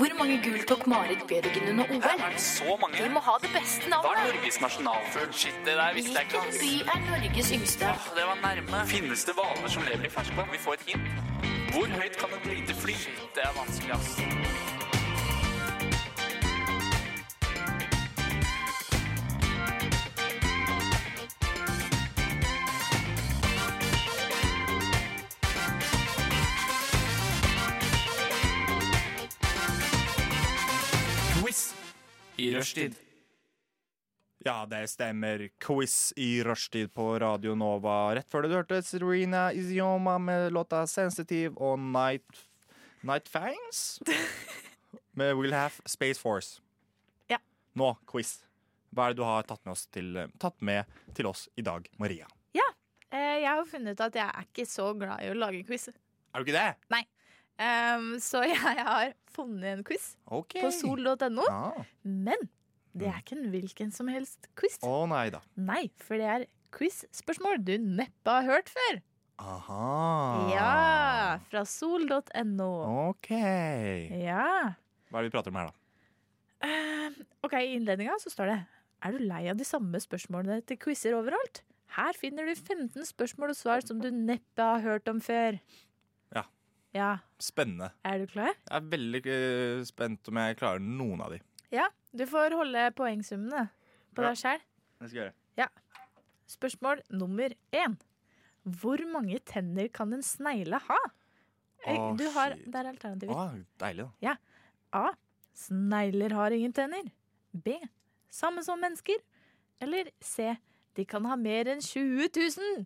Speaker 6: Hvor mange gull tok Marit Bjørgen under OL?
Speaker 7: Er det så mange?
Speaker 6: Vi må ha det beste
Speaker 7: Hva er
Speaker 6: navnet.
Speaker 7: Norges nasjonalfugl? Shit, det der visste jeg
Speaker 6: Hvilken by
Speaker 7: ikke.
Speaker 6: er Norges yngste?
Speaker 7: ass. Det var nærme. Finnes det hvaler som lever i ferskvann? Vi får et hint. Hvor høyt kan et lite fly? Shit, det er vanskelig, ass. Quiz i rushtid.
Speaker 2: Ja, det stemmer. Quiz i rushtid på Radio Nova. Rett før du hørte Serena Izioma med låta 'Sensitive' og Night, Night Fangs
Speaker 4: (laughs)
Speaker 2: med Will Have Space Force.
Speaker 4: Ja.
Speaker 2: Nå, quiz. Hva er det du har tatt med oss til, tatt med til oss i dag, Maria?
Speaker 4: Eh, jeg har funnet ut at jeg er ikke så glad i å lage quiz.
Speaker 2: Er du ikke det?
Speaker 4: Um, så (laughs) jeg har funnet en quiz
Speaker 2: OK.
Speaker 4: på sol.no.
Speaker 2: Å ah.
Speaker 4: Men det er ikke en hvilken som helst quiz.
Speaker 2: Mm. Å, nei da.
Speaker 4: Nei, for det er quiz-spørsmål du neppe har hørt før.
Speaker 2: Aha.
Speaker 4: Ja, fra sol.no.
Speaker 2: Ah. OK. Hva
Speaker 4: Ja. Ehm,
Speaker 2: er det vi prater om her, da?
Speaker 4: Ok, I innledninga så står det Er du lei av de samme spørsmålene til quizer overalt? Her finner du 15 spørsmål og svar som du neppe har hørt om før.
Speaker 2: Ja.
Speaker 4: Ja,
Speaker 2: Spennende.
Speaker 4: Er du klar?
Speaker 2: Jeg er veldig eh, spent om jeg klarer noen av de.
Speaker 4: Ja. Du får holde poengsummene på
Speaker 2: Ja.
Speaker 4: deg sjæl.
Speaker 2: Det skal jeg gjøre.
Speaker 4: Spørsmål nummer én. Hvor mange tenner kan en snegle ha? Eh,
Speaker 2: Å,
Speaker 4: du har,
Speaker 2: shit.
Speaker 4: det er alternativer.
Speaker 2: Ah, deilig, da.
Speaker 4: A. Snegler har ingen tenner. B. Samme som mennesker. Eller C. De kan ha mer enn 20 000.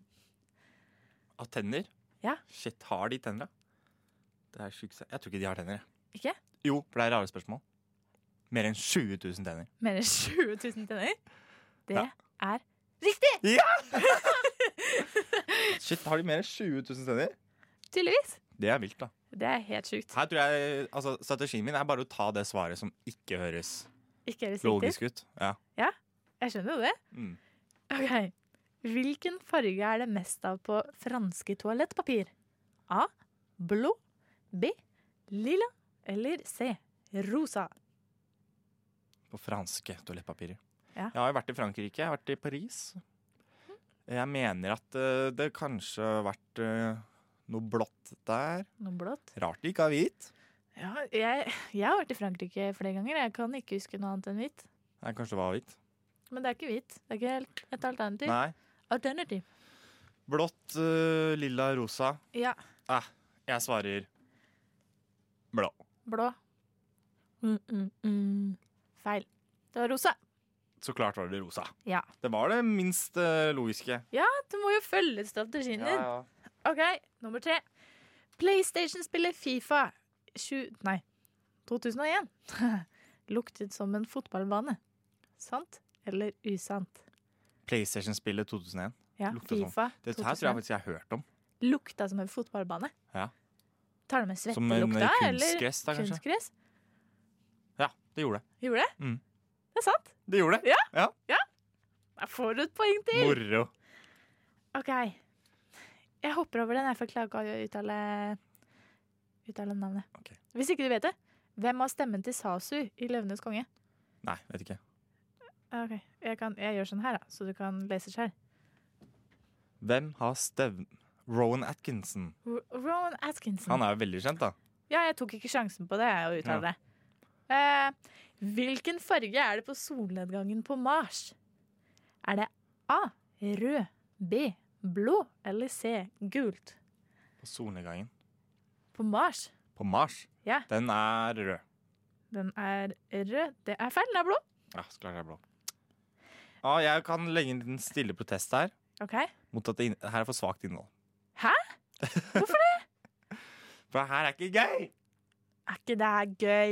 Speaker 2: Av tenner?
Speaker 4: Ja.
Speaker 2: Shit, har de tenner, da? Det er sjukt. Jeg tror ikke de har tenner. jeg.
Speaker 4: Ikke?
Speaker 2: Jo, for det er rare spørsmål. Mer enn 20 000 tenner.
Speaker 4: Mer enn (laughs) 20 000 tenner? Det
Speaker 2: Ja.
Speaker 4: er riktig!
Speaker 2: Shit, har de mer enn 20 000 tenner?
Speaker 4: Tydeligvis.
Speaker 2: Det er vilt, da.
Speaker 4: Det er helt sjukt.
Speaker 2: Her tror jeg, altså, Strategien min er bare å ta det svaret som ikke høres
Speaker 4: Ikke er det riktig?
Speaker 2: logisk ut. Ja.
Speaker 4: Jeg skjønner jo det.
Speaker 2: Mm.
Speaker 4: Ok. Hvilken farge er det mest av på franske toalettpapir? A. Blå. B. Lilla. Eller C. Rosa.
Speaker 2: På franske toalettpapirer.
Speaker 4: Ja.
Speaker 2: Jeg har jo vært i Frankrike, jeg har vært i Paris. Jeg mener at eh, det kanskje har vært eh, noe blått der.
Speaker 4: Noe blått.
Speaker 2: Rart de ikke har hvit.
Speaker 4: Ja, jeg, jeg har vært i Frankrike flere ganger. Jeg kan ikke huske noe annet enn hvitt.
Speaker 2: Nei, kanskje det var hvit.
Speaker 4: Men det er ikke hvitt. Det er ikke helt et alternativ.
Speaker 2: Nei.
Speaker 4: Alternativ.
Speaker 2: Blått, eh, lilla, rosa.
Speaker 4: Ja.
Speaker 2: Jeg svarer blå.
Speaker 4: Blå. Mm, mm, mm. Feil. Det var rosa.
Speaker 2: Så klart var det rosa.
Speaker 4: Ja.
Speaker 2: Det var det minst eh, logiske.
Speaker 4: Du må jo følge strategien din.
Speaker 2: ja.
Speaker 4: OK, nummer tre. PlayStation spiller Fifa sju... Nei, 2001. (laughs) Luktet som en fotballbane. Sant eller usant?
Speaker 2: PlayStation-spillet 2001.
Speaker 4: Ja,
Speaker 2: Lukta som-
Speaker 4: Fifa
Speaker 2: Dette her tror jeg
Speaker 4: 2001.
Speaker 2: faktisk jeg har hørt om.
Speaker 4: Lukta som en fotballbane.
Speaker 2: Ja.
Speaker 4: Tar du med
Speaker 2: Som en
Speaker 4: svettelukta,
Speaker 2: eh,
Speaker 4: eller
Speaker 2: kunstgress, da, kanskje.
Speaker 4: kunstgress?
Speaker 2: Ja, det gjorde det.
Speaker 4: Gjorde det?
Speaker 2: Mm.
Speaker 4: Det er sant.
Speaker 2: Det gjorde det.
Speaker 4: Da får du et poeng til.
Speaker 2: Moro.
Speaker 4: OK. Jeg hopper over den, jeg, for jeg klarer ikke å uttale, uttale navnet.
Speaker 2: Ok.
Speaker 4: Hvis ikke du vet det, hvem har stemmen til Sasu i 'Løvenes konge'?
Speaker 2: Nei, vet ikke.
Speaker 4: Ah, Ok, jeg, kan, jeg gjør sånn her, da, så du kan lese selv.
Speaker 2: Hvem har stevn... Rowan Atkinson.
Speaker 4: R- Rowan Atkinson.
Speaker 2: Han er jo veldig kjent, da.
Speaker 4: Ja, jeg tok ikke sjansen på det, jeg, å uttale det. Eh, hvilken farge er det på solnedgangen på Mars? Er det A. Rød, B. Blå eller C. Gult?
Speaker 2: På solnedgangen.
Speaker 4: På Mars?
Speaker 2: På Mars.
Speaker 4: Ja.
Speaker 2: Den er rød.
Speaker 4: Den er rød. Det er feil, den er blå.
Speaker 2: Ja, så klart det er blå. Ja, jeg kan legge inn en liten stille protest her
Speaker 4: Ok.
Speaker 2: mot at det inn- her er for svakt innhold.
Speaker 4: Hæ? Hvorfor
Speaker 2: det? (laughs) For det her er ikke gøy!
Speaker 4: Er ikke det her gøy?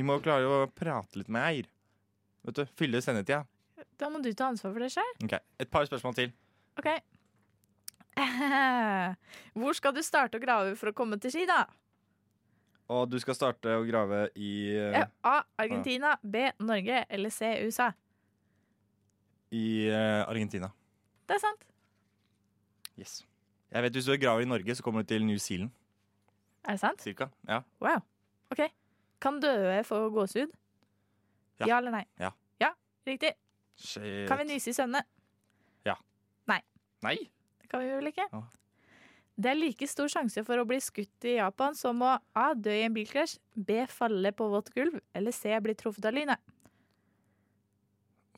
Speaker 2: Vi må klare å prate litt med eier. Vet du, Fylle sendetida.
Speaker 4: Da må du ta ansvar for det sjøl.
Speaker 2: Ok, Et par spørsmål til.
Speaker 4: Ok. (laughs) Hvor skal du starte å grave for å komme til ski, da?
Speaker 2: Og du skal starte å grave i, eh,
Speaker 4: Eh, A. Argentina. B. Norge. Eller C. USA.
Speaker 2: i eh, Argentina.
Speaker 4: Det er sant.
Speaker 2: Yes. Jeg vet Hvis du graver i Norge, så kommer du til New Zealand.
Speaker 4: Er det sant?
Speaker 2: Cirka. Ja.
Speaker 4: Wow. Ok. Kan døde få gåsehud?
Speaker 2: Ja.
Speaker 4: Ja. eller nei?
Speaker 2: Ja.
Speaker 4: Riktig.
Speaker 2: Shit.
Speaker 4: Kan vi nyse i søvne?
Speaker 2: Nei.
Speaker 4: Det kan vi vel ikke?
Speaker 2: Ja.
Speaker 4: Det er like stor sjanse for å bli skutt i Japan som å A. dø i en bilkrasj, B. falle på vått gulv, eller C. bli truffet av lynet.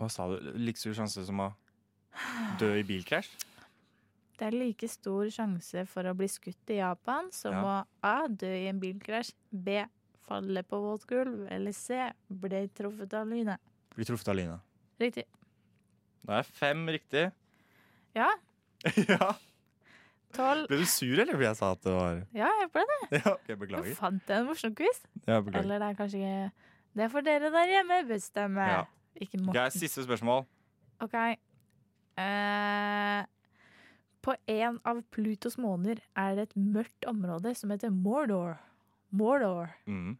Speaker 2: Hva sa du? Like stor sjanse som å dø i bilkrasj?
Speaker 4: Det er like stor sjanse for å bli skutt i Japan som å
Speaker 2: Ja.
Speaker 4: A. dø i en bilkrasj, B. falle på vått gulv, eller C. bli truffet av lynet.
Speaker 2: Bli truffet av lynet.
Speaker 4: Riktig.
Speaker 2: Da er fem riktig.
Speaker 4: Ja.
Speaker 2: (laughs) ja.
Speaker 4: Tolv.
Speaker 2: Ble du sur, eller fordi jeg sa at det var
Speaker 4: Ja, jeg ble det.
Speaker 2: (laughs) Ja, ok,
Speaker 4: Nå
Speaker 2: beklager.
Speaker 4: fant jeg en morsom quiz.
Speaker 2: Ja, beklager.
Speaker 4: Eller det er kanskje ikke Det er for dere der hjemme å bestemme.
Speaker 2: Ja.
Speaker 4: Ikke
Speaker 2: Ok,
Speaker 4: Morten.
Speaker 2: Siste spørsmål.
Speaker 4: OK. Eh, på en av Plutos måneder er det et mørkt område som heter Mordor. Mordor.
Speaker 2: Mm.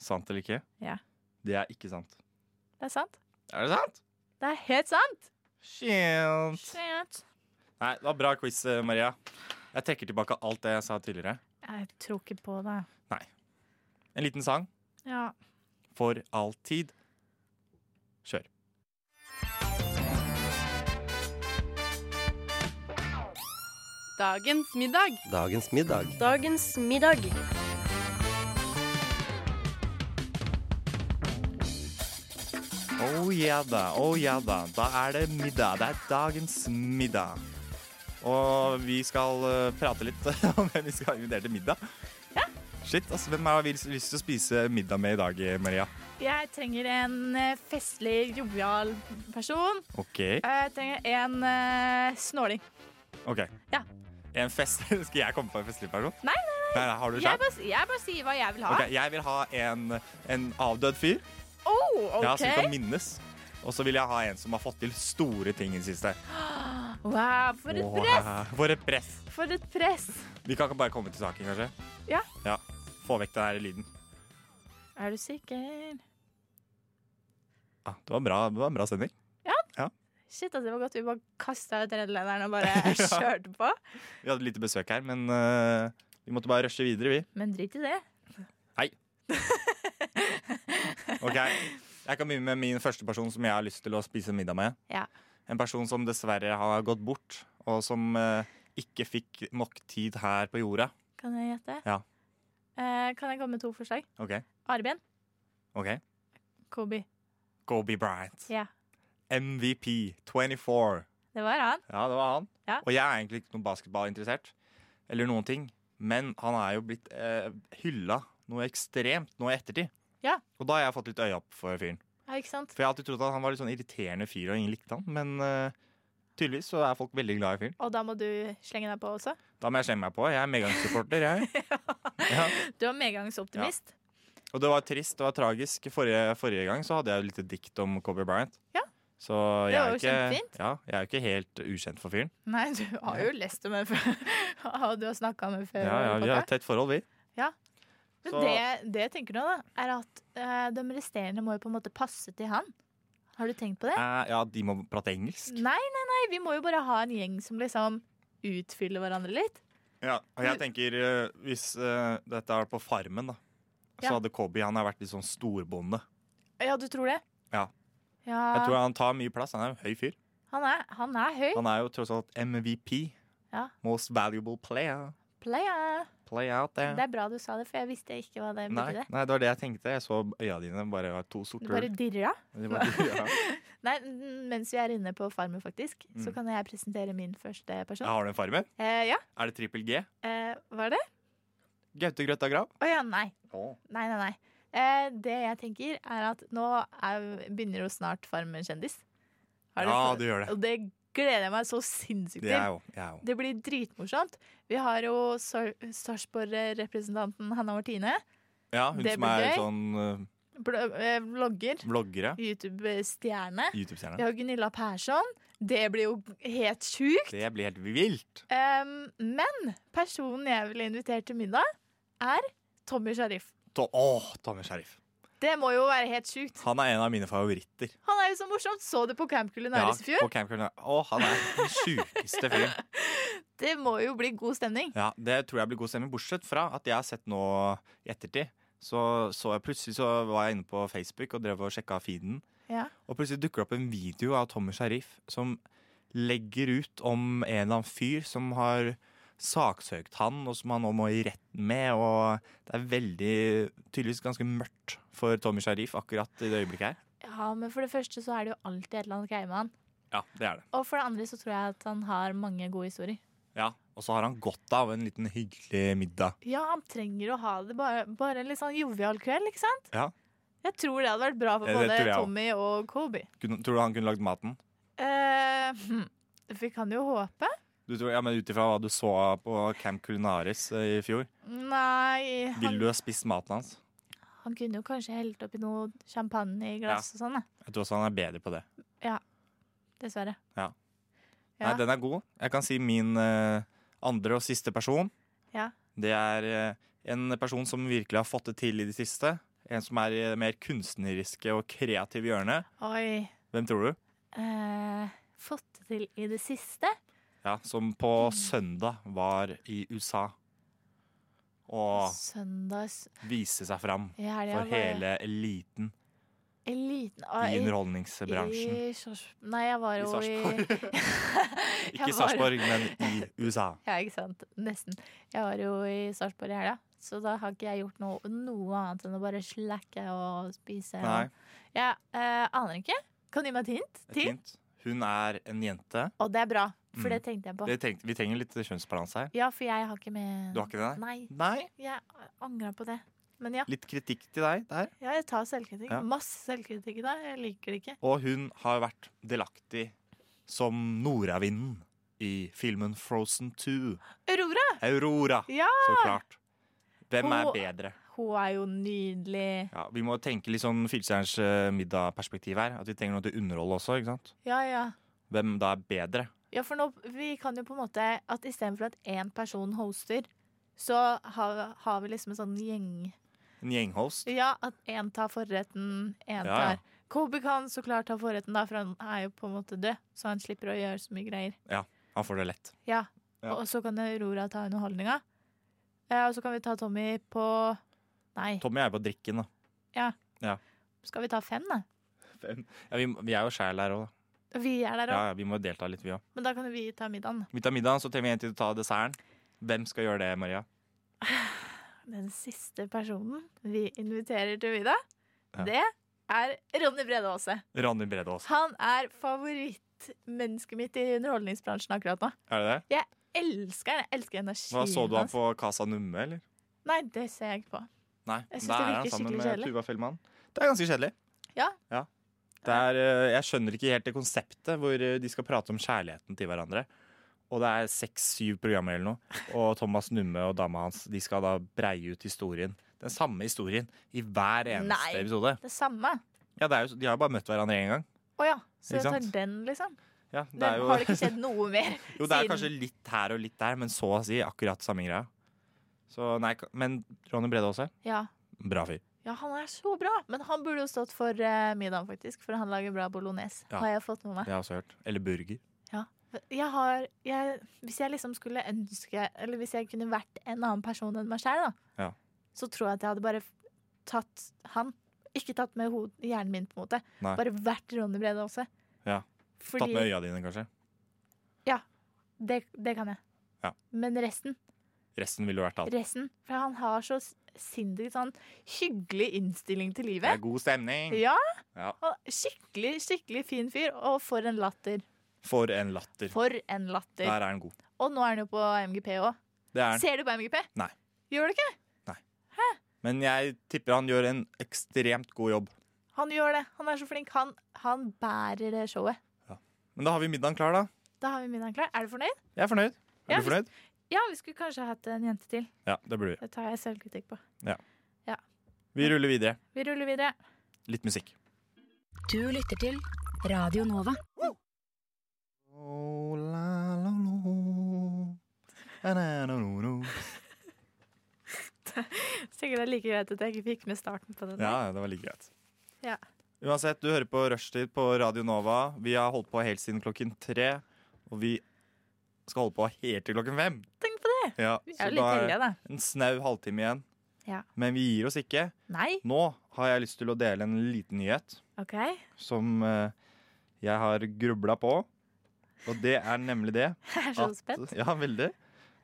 Speaker 2: Sant eller ikke?
Speaker 4: Ja.
Speaker 2: Det er ikke sant.
Speaker 4: Det er sant?
Speaker 2: Er det sant?
Speaker 4: Det er helt sant!
Speaker 2: Shit.
Speaker 4: Shit.
Speaker 2: Nei, det var bra quiz, eh, Maria. Jeg trekker tilbake alt det jeg sa tidligere.
Speaker 4: Jeg tror ikke på det.
Speaker 2: En liten sang
Speaker 4: Ja.
Speaker 2: for all tid. Kjør.
Speaker 5: Dagens middag.
Speaker 8: Dagens middag.
Speaker 5: Dagens middag.
Speaker 2: Oh ja da, oh ja da. Da er det middag. Det er dagens middag. Og vi skal eh, prate litt (laughs) om hvem vi skal invitere til middag. Shit, altså, Hvem har vi lyst til å spise middag med i dag, eh, Maria?
Speaker 4: Jeg trenger en eh, festlig, jovial person.
Speaker 2: OK.
Speaker 4: Jeg trenger en eh, snåling.
Speaker 2: ok.
Speaker 4: Ja.
Speaker 2: En fest? (laughs) Skal jeg komme på en festlig person?
Speaker 4: Nei,
Speaker 2: nei, nei. Har du
Speaker 4: Jeg
Speaker 2: sjef?
Speaker 4: bare, jeg bare sier hva jeg vil ha.
Speaker 2: Ok, jeg vil ha en, en avdød fyr.
Speaker 4: Oh,
Speaker 2: Ja,
Speaker 4: OK.
Speaker 2: som kan minnes. Og så vil jeg ha en som har fått til store ting i det siste.
Speaker 4: Wow, for et
Speaker 2: Åh,
Speaker 4: press!
Speaker 2: For et press!
Speaker 4: For et press!
Speaker 2: Vi kan ikke bare komme til saken, kanskje?
Speaker 4: Ja.
Speaker 2: Få vekk den her lyden.
Speaker 4: Er du sikker?
Speaker 2: Ja, Ah, det, var bra, det var en bra sending.
Speaker 4: Shit, altså, det var godt vi bare kasta ut redelederen
Speaker 2: (laughs)
Speaker 4: og bare (laughs) kjørte på.
Speaker 2: Vi hadde lite besøk her, men eh, vi måtte bare rushe videre, vi.
Speaker 4: Men drit i det.
Speaker 2: Ok, Jeg kan begynne med min første person som jeg har lyst til å spise middag med.
Speaker 4: Ja.
Speaker 2: En person som dessverre har gått bort, og som eh, ikke fikk nok tid her på jorda.
Speaker 4: Kan jeg gjette?
Speaker 2: Ja.
Speaker 4: Eh, kan jeg komme med to forslag?
Speaker 2: Ok,
Speaker 4: Arben.
Speaker 2: ok.
Speaker 4: Kobe.
Speaker 2: Goby Bryant.
Speaker 4: Ja.
Speaker 2: MVP 24.
Speaker 4: Det var han.
Speaker 2: Ja, det var han.
Speaker 4: Ja.
Speaker 2: Og jeg er egentlig ikke noen basketballinteressert. Eller noen ting. Men han er jo blitt eh, hylla noe ekstremt nå i ettertid.
Speaker 4: Ja.
Speaker 2: Og da har jeg fått litt øye opp for fyren.
Speaker 4: Ja, ikke sant?
Speaker 2: For jeg har alltid trodd at han var litt sånn irriterende fyr, og ingen likte han. Men eh, tydeligvis så er folk veldig glad i fyren.
Speaker 4: Og da må du slenge deg på også.
Speaker 2: Da må jeg slenge meg på. Jeg er medgangssupporter,
Speaker 4: (laughs)
Speaker 2: jeg. Ja.
Speaker 4: Du er medgangsoptimist.
Speaker 2: Og det var trist, det var tragisk. Forrige, forrige gang så hadde jeg jo litt dikt om Kobe Bryant.
Speaker 4: Ja.
Speaker 2: Så
Speaker 4: Det
Speaker 2: jeg
Speaker 4: var
Speaker 2: er
Speaker 4: jo
Speaker 2: ikke,
Speaker 4: kjempefint.
Speaker 2: ja, jeg er jo ikke helt ukjent for fyren.
Speaker 4: Nei, du har jo lest om det før. (laughs) Og du har snakka med før.
Speaker 2: Ja, ja, vi har
Speaker 4: Rebecca.
Speaker 2: et tett forhold, vi.
Speaker 4: Eh, Men
Speaker 2: Så-
Speaker 4: det, det jeg tenker nå, da, er at eh, de resterende må jo på en måte passe til han. Har du tenkt på det?
Speaker 2: Eh, ja, de må prate engelsk.
Speaker 4: Nei, nei, nei, vi må jo bare ha en gjeng som liksom utfyller hverandre litt.
Speaker 2: Ja, og jeg tenker eh, Hvis eh, dette er på farmen da Så
Speaker 4: Ja.
Speaker 2: hadde Kobe han har vært litt sånn storbonde
Speaker 4: Ja, du tror det?
Speaker 2: Ja.
Speaker 4: Ja,
Speaker 2: Jeg tror han tar mye plass, han er jo en høy fyr
Speaker 4: han, er, han er høy.
Speaker 2: Han er jo tross alt MVP
Speaker 4: Ja.
Speaker 2: Most valuable player
Speaker 4: Playa.
Speaker 2: Play out, det.
Speaker 4: Det er bra du sa det, for jeg visste ikke hva det
Speaker 2: Nei,
Speaker 4: betydde.
Speaker 2: nei, det var det jeg tenkte. Jeg så øya dine bare var to
Speaker 4: Du
Speaker 2: sorte
Speaker 4: bare
Speaker 2: hull.
Speaker 4: dirra.
Speaker 2: (laughs) De var- ja.
Speaker 4: Nei, n- mens vi er inne på Farmen, faktisk, så
Speaker 2: Mm.
Speaker 4: kan jeg presentere min første person.
Speaker 2: Har du en farmen?
Speaker 4: Eh, ja.
Speaker 2: Er det trippel G?
Speaker 4: Eh, var det?
Speaker 2: Gaute Grøtta Grav?
Speaker 4: Å ja, nei. Nei, nei, nei. Eh, det jeg tenker, er at nå er, begynner jo snart Farmen kjendis. Har du
Speaker 2: Ja,
Speaker 4: fått-
Speaker 2: du gjør det.
Speaker 4: Og det gleder jeg meg så sinnssykt
Speaker 2: Det er
Speaker 4: til.
Speaker 2: jo, jeg er jo.
Speaker 4: Det blir dritmorsomt. Vi har jo Sar- Sarpsborg-representanten Hanna Martine.
Speaker 2: Ja, hun
Speaker 4: Det
Speaker 2: som
Speaker 4: blir
Speaker 2: er
Speaker 4: gøy.
Speaker 2: sånn eh,
Speaker 4: bl- eh, Vlogger.
Speaker 2: vloggere.
Speaker 4: YouTube-stjerne. Vi
Speaker 2: YouTube-stjerne.
Speaker 4: har Gunilla Persson. Det blir jo helt sjukt.
Speaker 2: Det blir helt vilt.
Speaker 4: Em, men personen jeg ville invitert til middag, er Tommy Sharif.
Speaker 2: To Åh, Tommy Sheriff.
Speaker 4: Det må jo være helt sjukt.
Speaker 2: Han er en av mine favoritter.
Speaker 4: Han er jo så morsomt. Så du på Camp Culinaris i fjor?
Speaker 2: på Camp Culinaris. Åh, han er den sjukeste fyren.
Speaker 4: Det må jo bli god stemning.
Speaker 2: Ja, det tror jeg blir god stemning. Bortsett fra at jeg har sett nå i ettertid. Så, så jeg plutselig så var jeg inne på Facebook og drev og sjekka feeden.
Speaker 4: Ja.
Speaker 2: Og plutselig dukker det opp en video av Tommy Sharif som legger ut om en eller annen fyr som har saksøkt han, og som han nå må i retten med. Og det er veldig tydeligvis ganske mørkt for Tommy Sharif akkurat i det øyeblikket her.
Speaker 4: Ja, men for det første så er det jo alltid et eller annet greie med han.
Speaker 2: Ja, det er det.
Speaker 4: Og for det andre så tror jeg at han har mange gode historier.
Speaker 2: Ja, Og så har han godt av en liten hyggelig middag.
Speaker 4: Ja, han trenger å ha det bare, bare en litt sånn jovial kveld, ikke sant?
Speaker 2: Ja.
Speaker 4: Jeg tror det hadde vært bra for
Speaker 2: Ja, det
Speaker 4: både
Speaker 2: tror jeg også.
Speaker 4: Tommy og Kobe.
Speaker 2: Kunne, tror du han kunne lagd maten?
Speaker 4: Eh, hm. Vi kan jo håpe.
Speaker 2: Du tror, ja, men Ut ifra hva du så på Camp Culinaris eh, i fjor,
Speaker 4: Nei, han,
Speaker 2: ville du ha spist maten hans?
Speaker 4: han kunne jo kanskje helt oppi noe champagne i glass og sånn, da.
Speaker 2: Jeg tror også han er bedre på det.
Speaker 4: dessverre. Ja.
Speaker 2: Nei, den er god. Jeg kan si min eh, andre og siste person.
Speaker 4: Ja.
Speaker 2: Det er eh, en person som virkelig har fått det til i det siste. En som er i det mer kunstneriske og kreative hjørnet.
Speaker 4: Oi.
Speaker 2: Hvem tror du?
Speaker 4: Eh, fått det til i det siste?
Speaker 2: Ja, Som på søndag var i USA. Og
Speaker 4: Søndags
Speaker 2: viste seg fram
Speaker 4: i helga.
Speaker 2: for
Speaker 4: var jeg-
Speaker 2: hele eliten
Speaker 4: Eliten Å,
Speaker 2: i
Speaker 4: jeg-
Speaker 2: underholdningsbransjen.
Speaker 4: I Sars- Nei, jeg var
Speaker 2: I
Speaker 4: jo i
Speaker 2: Sarpsborg.
Speaker 4: (laughs)
Speaker 2: Ikke i
Speaker 4: var-
Speaker 2: Sarpsborg, men i USA.
Speaker 4: Ja, ikke sant. Nesten. Jeg var jo i Sarpsborg i helga, så da har ikke jeg gjort noe, noe annet enn å bare slakke og spise.
Speaker 2: Nei,
Speaker 4: Jeg eh, aner ikke. Kan du gi meg et hint
Speaker 2: et
Speaker 4: til?
Speaker 2: hint. Hun er en jente.
Speaker 4: Og det er bra, for
Speaker 2: Mm.
Speaker 4: det tenkte jeg på.
Speaker 2: Det tenkte- vi trenger litt kjønnsbalanse her.
Speaker 4: Ja, for jeg har ikke med
Speaker 2: Du har ikke det der?
Speaker 4: Nei,
Speaker 2: Nei.
Speaker 4: jeg angra på det. Men ja,
Speaker 2: Litt kritikk til deg der.
Speaker 4: ja jeg tar selvkritikk.
Speaker 2: Ja.
Speaker 4: Masse selvkritikk i dag. Jeg liker det ikke.
Speaker 2: Og hun har vært delaktig som nordavinden i filmen Frozen 2.
Speaker 4: Aurora!
Speaker 2: Aurora,
Speaker 4: Ja!
Speaker 2: så klart. Hvem er
Speaker 4: Og-
Speaker 2: bedre?
Speaker 4: Hun er jo nydelig.
Speaker 2: Ja, vi må tenke litt sånn Filstjerns middag-perspektiv her. At vi trenger noe til å underholde også. ikke sant?
Speaker 4: Ja, ja.
Speaker 2: Hvem da er bedre?
Speaker 4: Ja, for nå, vi kan jo på en måte At istedenfor at én person hoster, så har, har vi liksom en sånn gjeng
Speaker 2: En gjenghost?
Speaker 4: Ja, at én tar forretten, én
Speaker 2: Ja, ja.
Speaker 4: tar Kobe kan så klart ta forretten, da, for han er jo på en måte død, så han slipper å gjøre så mye greier.
Speaker 2: Han får det lett.
Speaker 4: Ja,
Speaker 2: Ja.
Speaker 4: Og så kan Aurora ta underholdninga. Ja, og så kan vi ta Tommy på Nei,
Speaker 2: Tommy er jo på drikken, da.
Speaker 4: skal vi ta fem, da?
Speaker 2: Ja, vi, vi er jo sjæl her òg, da.
Speaker 4: Vi er der
Speaker 2: Ja,
Speaker 4: òg,
Speaker 2: ja, vi må delta litt, vi òg.
Speaker 4: men da kan jo vi ta middagen.
Speaker 2: Vi tar middagen, så trenger vi en til å ta desserten. Hvem skal gjøre det, Maria?
Speaker 4: Den siste personen vi inviterer til middag,
Speaker 2: Ja.
Speaker 4: det er Ronny Brede Aase.
Speaker 2: Ronny Brede Aas.
Speaker 4: Han er favorittmennesket mitt i underholdningsbransjen akkurat nå.
Speaker 2: Er det det?
Speaker 4: Elsker han, jeg elsker energien
Speaker 2: Hva Så du han
Speaker 4: hans.
Speaker 2: på Casa Numme, eller?
Speaker 4: Nei, det ser jeg ikke på.
Speaker 2: Nei,
Speaker 4: Jeg synes
Speaker 2: da
Speaker 4: det
Speaker 2: er
Speaker 4: virker
Speaker 2: han sammen
Speaker 4: skikkelig
Speaker 2: med
Speaker 4: kjedelig.
Speaker 2: Tuva Fellmann. Det er ganske kjedelig.
Speaker 4: Ja.
Speaker 2: Det er, eh, jeg skjønner ikke helt det konseptet hvor eh, de skal prate om kjærligheten til hverandre. Og det er seks-syv programmer eller noe. Og Thomas Numme og dama hans de skal da breie ut historien. Den samme historien i hver eneste
Speaker 4: Nei.
Speaker 2: episode.
Speaker 4: Det samme.
Speaker 2: Ja, det er jo, De har jo bare møtt hverandre én gang.
Speaker 4: Å ja, så
Speaker 2: Ikke
Speaker 4: jeg tar
Speaker 2: sant?
Speaker 4: den, liksom.
Speaker 2: Ja, det
Speaker 4: Det
Speaker 2: er
Speaker 4: Har det
Speaker 2: jo,
Speaker 4: ikke skjedd noe mer? (laughs)
Speaker 2: jo, det er
Speaker 4: siden-
Speaker 2: kanskje litt her og litt der, men så å si akkurat samme greia. Så nei, ka- Men Ronny Brede også.
Speaker 4: Ja.
Speaker 2: Bra fyr.
Speaker 4: ja, han er så bra. Men han burde jo stått for eh, middagen, faktisk. For han lager bra bolognese,
Speaker 2: Ja.
Speaker 4: har jeg fått med meg.
Speaker 2: Det har jeg også hørt. Eller burger.
Speaker 4: Jeg har, jeg, hvis jeg liksom skulle ønske Eller hvis jeg kunne vært en annen person enn meg selv da,
Speaker 2: Ja.
Speaker 4: Så tror jeg at jeg hadde bare tatt han Ikke tatt med hod- hjernen min på en måte
Speaker 2: Nei.
Speaker 4: Bare vært Ronny Brede også
Speaker 2: Ja. Tatt med
Speaker 4: Fordi
Speaker 2: øya dine, kanskje.
Speaker 4: det, det kan jeg
Speaker 2: Ja.
Speaker 4: Men resten
Speaker 2: Resten ville jo vært alt.
Speaker 4: Resten. For han har så s- sinnssykt sånn hyggelig innstilling til
Speaker 2: Det er
Speaker 4: livet.
Speaker 2: god stemning.
Speaker 4: Ja.
Speaker 2: Ja.
Speaker 4: og Skikkelig, skikkelig fin fyr. Og for en latter.
Speaker 2: For en latter.
Speaker 4: For en
Speaker 2: Der
Speaker 4: latter.
Speaker 2: er den god.
Speaker 4: Og nå er han jo på MGP òg.
Speaker 2: Det er den.
Speaker 4: Ser du på MGP?
Speaker 2: Nei.
Speaker 4: Gjør du ikke?
Speaker 2: Men jeg tipper han gjør en ekstremt god jobb.
Speaker 4: Han gjør det. Han er så flink. Han, han bærer det showet.
Speaker 2: Men da har vi middagen klar, da.
Speaker 4: Da har vi middagen klar. Er du fornøyd?
Speaker 2: Jeg er fornøyd. Er
Speaker 4: Ja,
Speaker 2: du fornøyd?
Speaker 4: Ja, vi skulle kanskje hatt en jente til.
Speaker 2: Ja, det burde vi.
Speaker 4: Det tar jeg selvkritikk på.
Speaker 2: Vi ruller videre.
Speaker 4: Vi ruller videre.
Speaker 2: Litt musikk.
Speaker 8: Du lytter til Radio Nova.
Speaker 2: Oh, la, la, lo. Na, na, na, no, no.
Speaker 4: Sikkert det er like greit at jeg ikke fikk med starten på den.
Speaker 2: Ja, ja, det var like greit.
Speaker 4: Ja.
Speaker 2: Uansett, du hører på Rushtid på Radio Nova. Vi har holdt på helt siden klokken tre, og vi skal holde på helt til klokken fem.
Speaker 4: Tenk på det!
Speaker 2: Ja,
Speaker 4: Vi
Speaker 2: så
Speaker 4: er jo litt
Speaker 2: da er
Speaker 4: heldige, da.
Speaker 2: en snau halvtime igjen.
Speaker 4: Ja.
Speaker 2: Men vi gir oss ikke.
Speaker 4: Nei?
Speaker 2: Nå har jeg lyst til å dele en liten nyhet
Speaker 4: OK. (laughs)
Speaker 2: som eh, jeg har grubla på. Og det er nemlig det
Speaker 4: Jeg er så spent.
Speaker 2: Ja, veldig.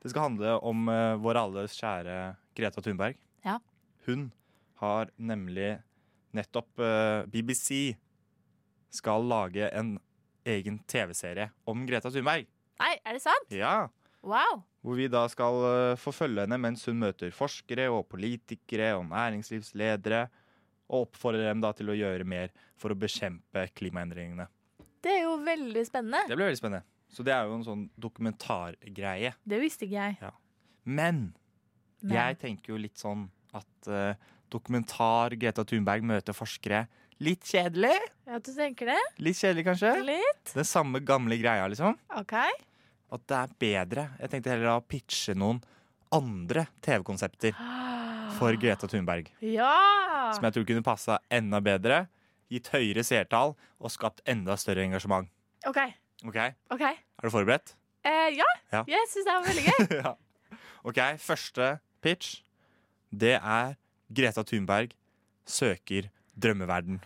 Speaker 2: Det skal handle om eh, vår alles kjære Greta Thunberg.
Speaker 4: Ja.
Speaker 2: Hun har nemlig nettopp eh, BBC skal lage en egen TV-serie om Greta Thunberg.
Speaker 4: Nei, er det sant?
Speaker 2: Ja,
Speaker 4: Wow!
Speaker 2: Hvor vi da skal eh, forfølge henne mens hun møter forskere og politikere og næringslivsledere. Og oppfordrer dem da til å gjøre mer for å bekjempe klimaendringene.
Speaker 4: Det er jo veldig spennende.
Speaker 2: Det blir veldig spennende. Så det er jo en sånn dokumentargreie.
Speaker 4: Det visste ikke jeg.
Speaker 2: Men
Speaker 4: Men-
Speaker 2: Jeg tenker jo litt sånn at eh, dokumentar Greta Thunberg møter forskere. Litt kjedelig,
Speaker 4: Ja, du tenker det?
Speaker 2: litt kjedelig kanskje.
Speaker 4: Litt?
Speaker 2: Den samme gamle greia, liksom.
Speaker 4: OK.
Speaker 2: At det er bedre. Jeg tenkte heller å pitche noen andre TV-konsepter for Greta Thunberg.
Speaker 4: Ja!
Speaker 2: Som jeg tror kunne passa enda bedre, gitt høyere seertall og skapt enda større engasjement.
Speaker 4: OK.
Speaker 2: OK, er
Speaker 4: ok.
Speaker 2: du forberedt?
Speaker 4: Eh, ja,
Speaker 2: Ja.
Speaker 4: jeg syns det var veldig gøy.
Speaker 2: (laughs) ja. OK, første pitch, det er Greta Thunberg søker drømmeverden.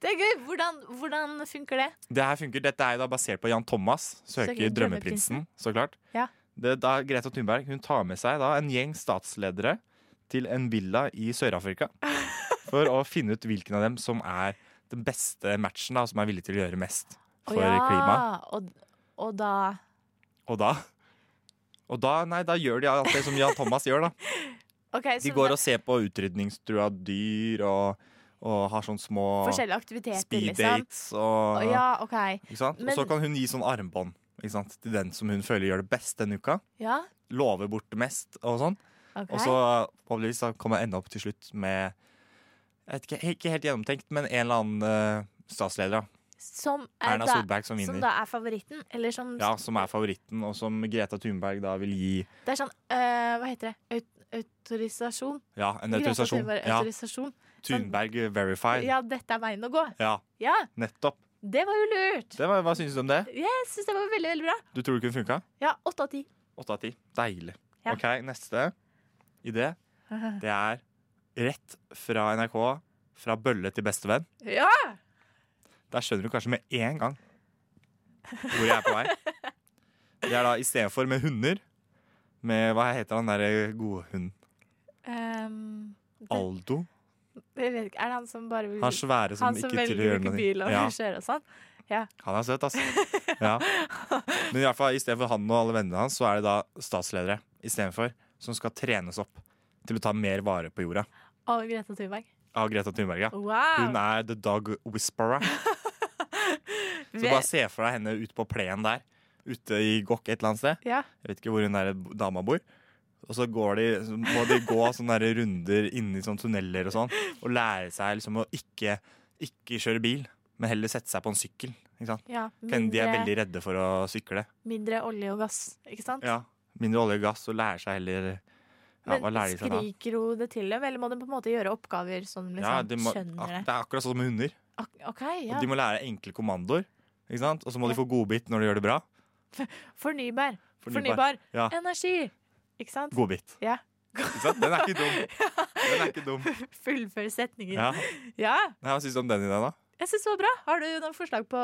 Speaker 4: Det er gøy. Hvordan, hvordan funker det?
Speaker 2: Det her funker, Dette er jo da basert på Jan Thomas, søker
Speaker 4: Søker
Speaker 2: Drømmeprinsen. så klart.
Speaker 4: Ja.
Speaker 2: Det, da Greta Thunberg hun tar med seg da en gjeng statsledere til en villa i Sør-Afrika. For å finne ut hvilken av dem som er den beste matchen, da, som er villig til å gjøre mest for klimaet.
Speaker 4: Og, og da
Speaker 2: Og da og da, nei, da gjør de alt det som Jan Thomas gjør. da.
Speaker 4: OK,
Speaker 2: De
Speaker 4: så
Speaker 2: går
Speaker 4: da-
Speaker 2: og ser på utrydningstrua dyr og, og har sånne små
Speaker 4: forskjellige aktiviteter,
Speaker 2: speed
Speaker 4: liksom.
Speaker 2: dates. Og,
Speaker 4: Å, Ja, OK.
Speaker 2: Ikke sant?
Speaker 4: Men-
Speaker 2: og så kan hun gi sånn armbånd ikke sant? til den som hun føler gjør det best denne uka.
Speaker 4: Ja,
Speaker 2: Lover bort mest og sånn.
Speaker 4: ok.
Speaker 2: Og så forhåpentligvis da kommer jeg ende opp til slutt med jeg vet ikke, ikke helt gjennomtenkt, men en eller annen eh, statsleder. da.
Speaker 4: som er
Speaker 2: Erna
Speaker 4: da,
Speaker 2: Solberg
Speaker 4: som
Speaker 2: som vinner.
Speaker 4: da er favoritten, eller som
Speaker 2: Ja, Som er favoritten, og som Greta Thunberg da vil gi
Speaker 4: Det er sånn eh, Hva heter det? Aut autorisasjon?
Speaker 2: ja, en
Speaker 4: Greta
Speaker 2: autorisasjon.
Speaker 4: Thunberg,
Speaker 2: Ja,
Speaker 4: autorisasjon.
Speaker 2: Thunberg verified.
Speaker 4: Ja, dette er veien å gå.
Speaker 2: Ja,
Speaker 4: Ja,
Speaker 2: nettopp.
Speaker 4: det var jo lurt.
Speaker 2: Det var, hva syns du om det?
Speaker 4: Jeg syns det var veldig, veldig bra.
Speaker 2: Du tror det kunne funka?
Speaker 4: Ja, åtte av ti.
Speaker 2: Åtte av ti. Deilig.
Speaker 4: Ja.
Speaker 2: OK, neste
Speaker 4: (laughs)
Speaker 2: idé. Det er rett fra NRK, fra bølle til bestevenn.
Speaker 4: Ja!
Speaker 2: Der skjønner du kanskje med en gang hvor jeg er på vei. Det er da istedenfor med hunder, med hva heter han derre gode hunden?
Speaker 4: Ehm, det-
Speaker 2: Aldo?
Speaker 4: jeg vet ikke, er det han som bare vil
Speaker 2: Han svære som,
Speaker 4: han som
Speaker 2: ikke
Speaker 4: velger
Speaker 2: til å gjøre
Speaker 4: hvilken bil
Speaker 2: noe.
Speaker 4: han
Speaker 2: Ja,
Speaker 4: vil kjøre og sånn?
Speaker 2: han er søt, altså. Ja. Men i hvert fall, istedenfor han og alle vennene hans, så er det da statsledere istedenfor. Som skal trenes opp til å ta mer vare på jorda.
Speaker 4: Og Greta Thunberg.
Speaker 2: Av Greta Thunberg, ja.
Speaker 4: Wow!
Speaker 2: Hun er the dog
Speaker 4: (laughs)
Speaker 2: whisperer. Så
Speaker 4: Ve-
Speaker 2: bare se for deg henne ute på plenen der. Ute i Gokk et eller annet sted.
Speaker 4: Ja.
Speaker 2: Jeg vet ikke hvor hun der dama bor. Og så går de, så må de gå (laughs) sånne der runder inni sånne tunneler og sånn. Og lære seg liksom å ikke, ikke kjøre bil, men heller sette seg på en sykkel. Ikke sant?
Speaker 4: ja
Speaker 2: Men de er
Speaker 4: mindre,
Speaker 2: veldig redde for å sykle.
Speaker 4: mindre olje og gass, ikke sant?
Speaker 2: Ja. Mindre olje og gass, og lære seg heller ja, Hva
Speaker 4: Men
Speaker 2: lærer de seg da?
Speaker 4: skriker hun det til dem, eller må de på en måte gjøre oppgaver som liksom
Speaker 2: Ja, de må,
Speaker 4: skjønner
Speaker 2: ak-
Speaker 4: det?
Speaker 2: det er akkurat sånn som med hunder.
Speaker 4: Ak- OK, ja.
Speaker 2: De må lære enkle kommandoer. Ikke sant? Og så må de få godbit når de gjør det bra.
Speaker 4: Fornybar.
Speaker 2: Fornybar.
Speaker 4: Fornybar.
Speaker 2: Ja.
Speaker 4: Energi. Ikke sant?
Speaker 2: Godbit.
Speaker 4: Ja.
Speaker 2: Ikke sant? Den er
Speaker 4: (laughs)
Speaker 2: ikke dum. Den er ikke dum.
Speaker 4: Fullfør setningen.
Speaker 2: Ja.
Speaker 4: Ja.
Speaker 2: Nei, Hva syns du om den ideen, da?
Speaker 4: Jeg syns det var bra. Har du noen forslag på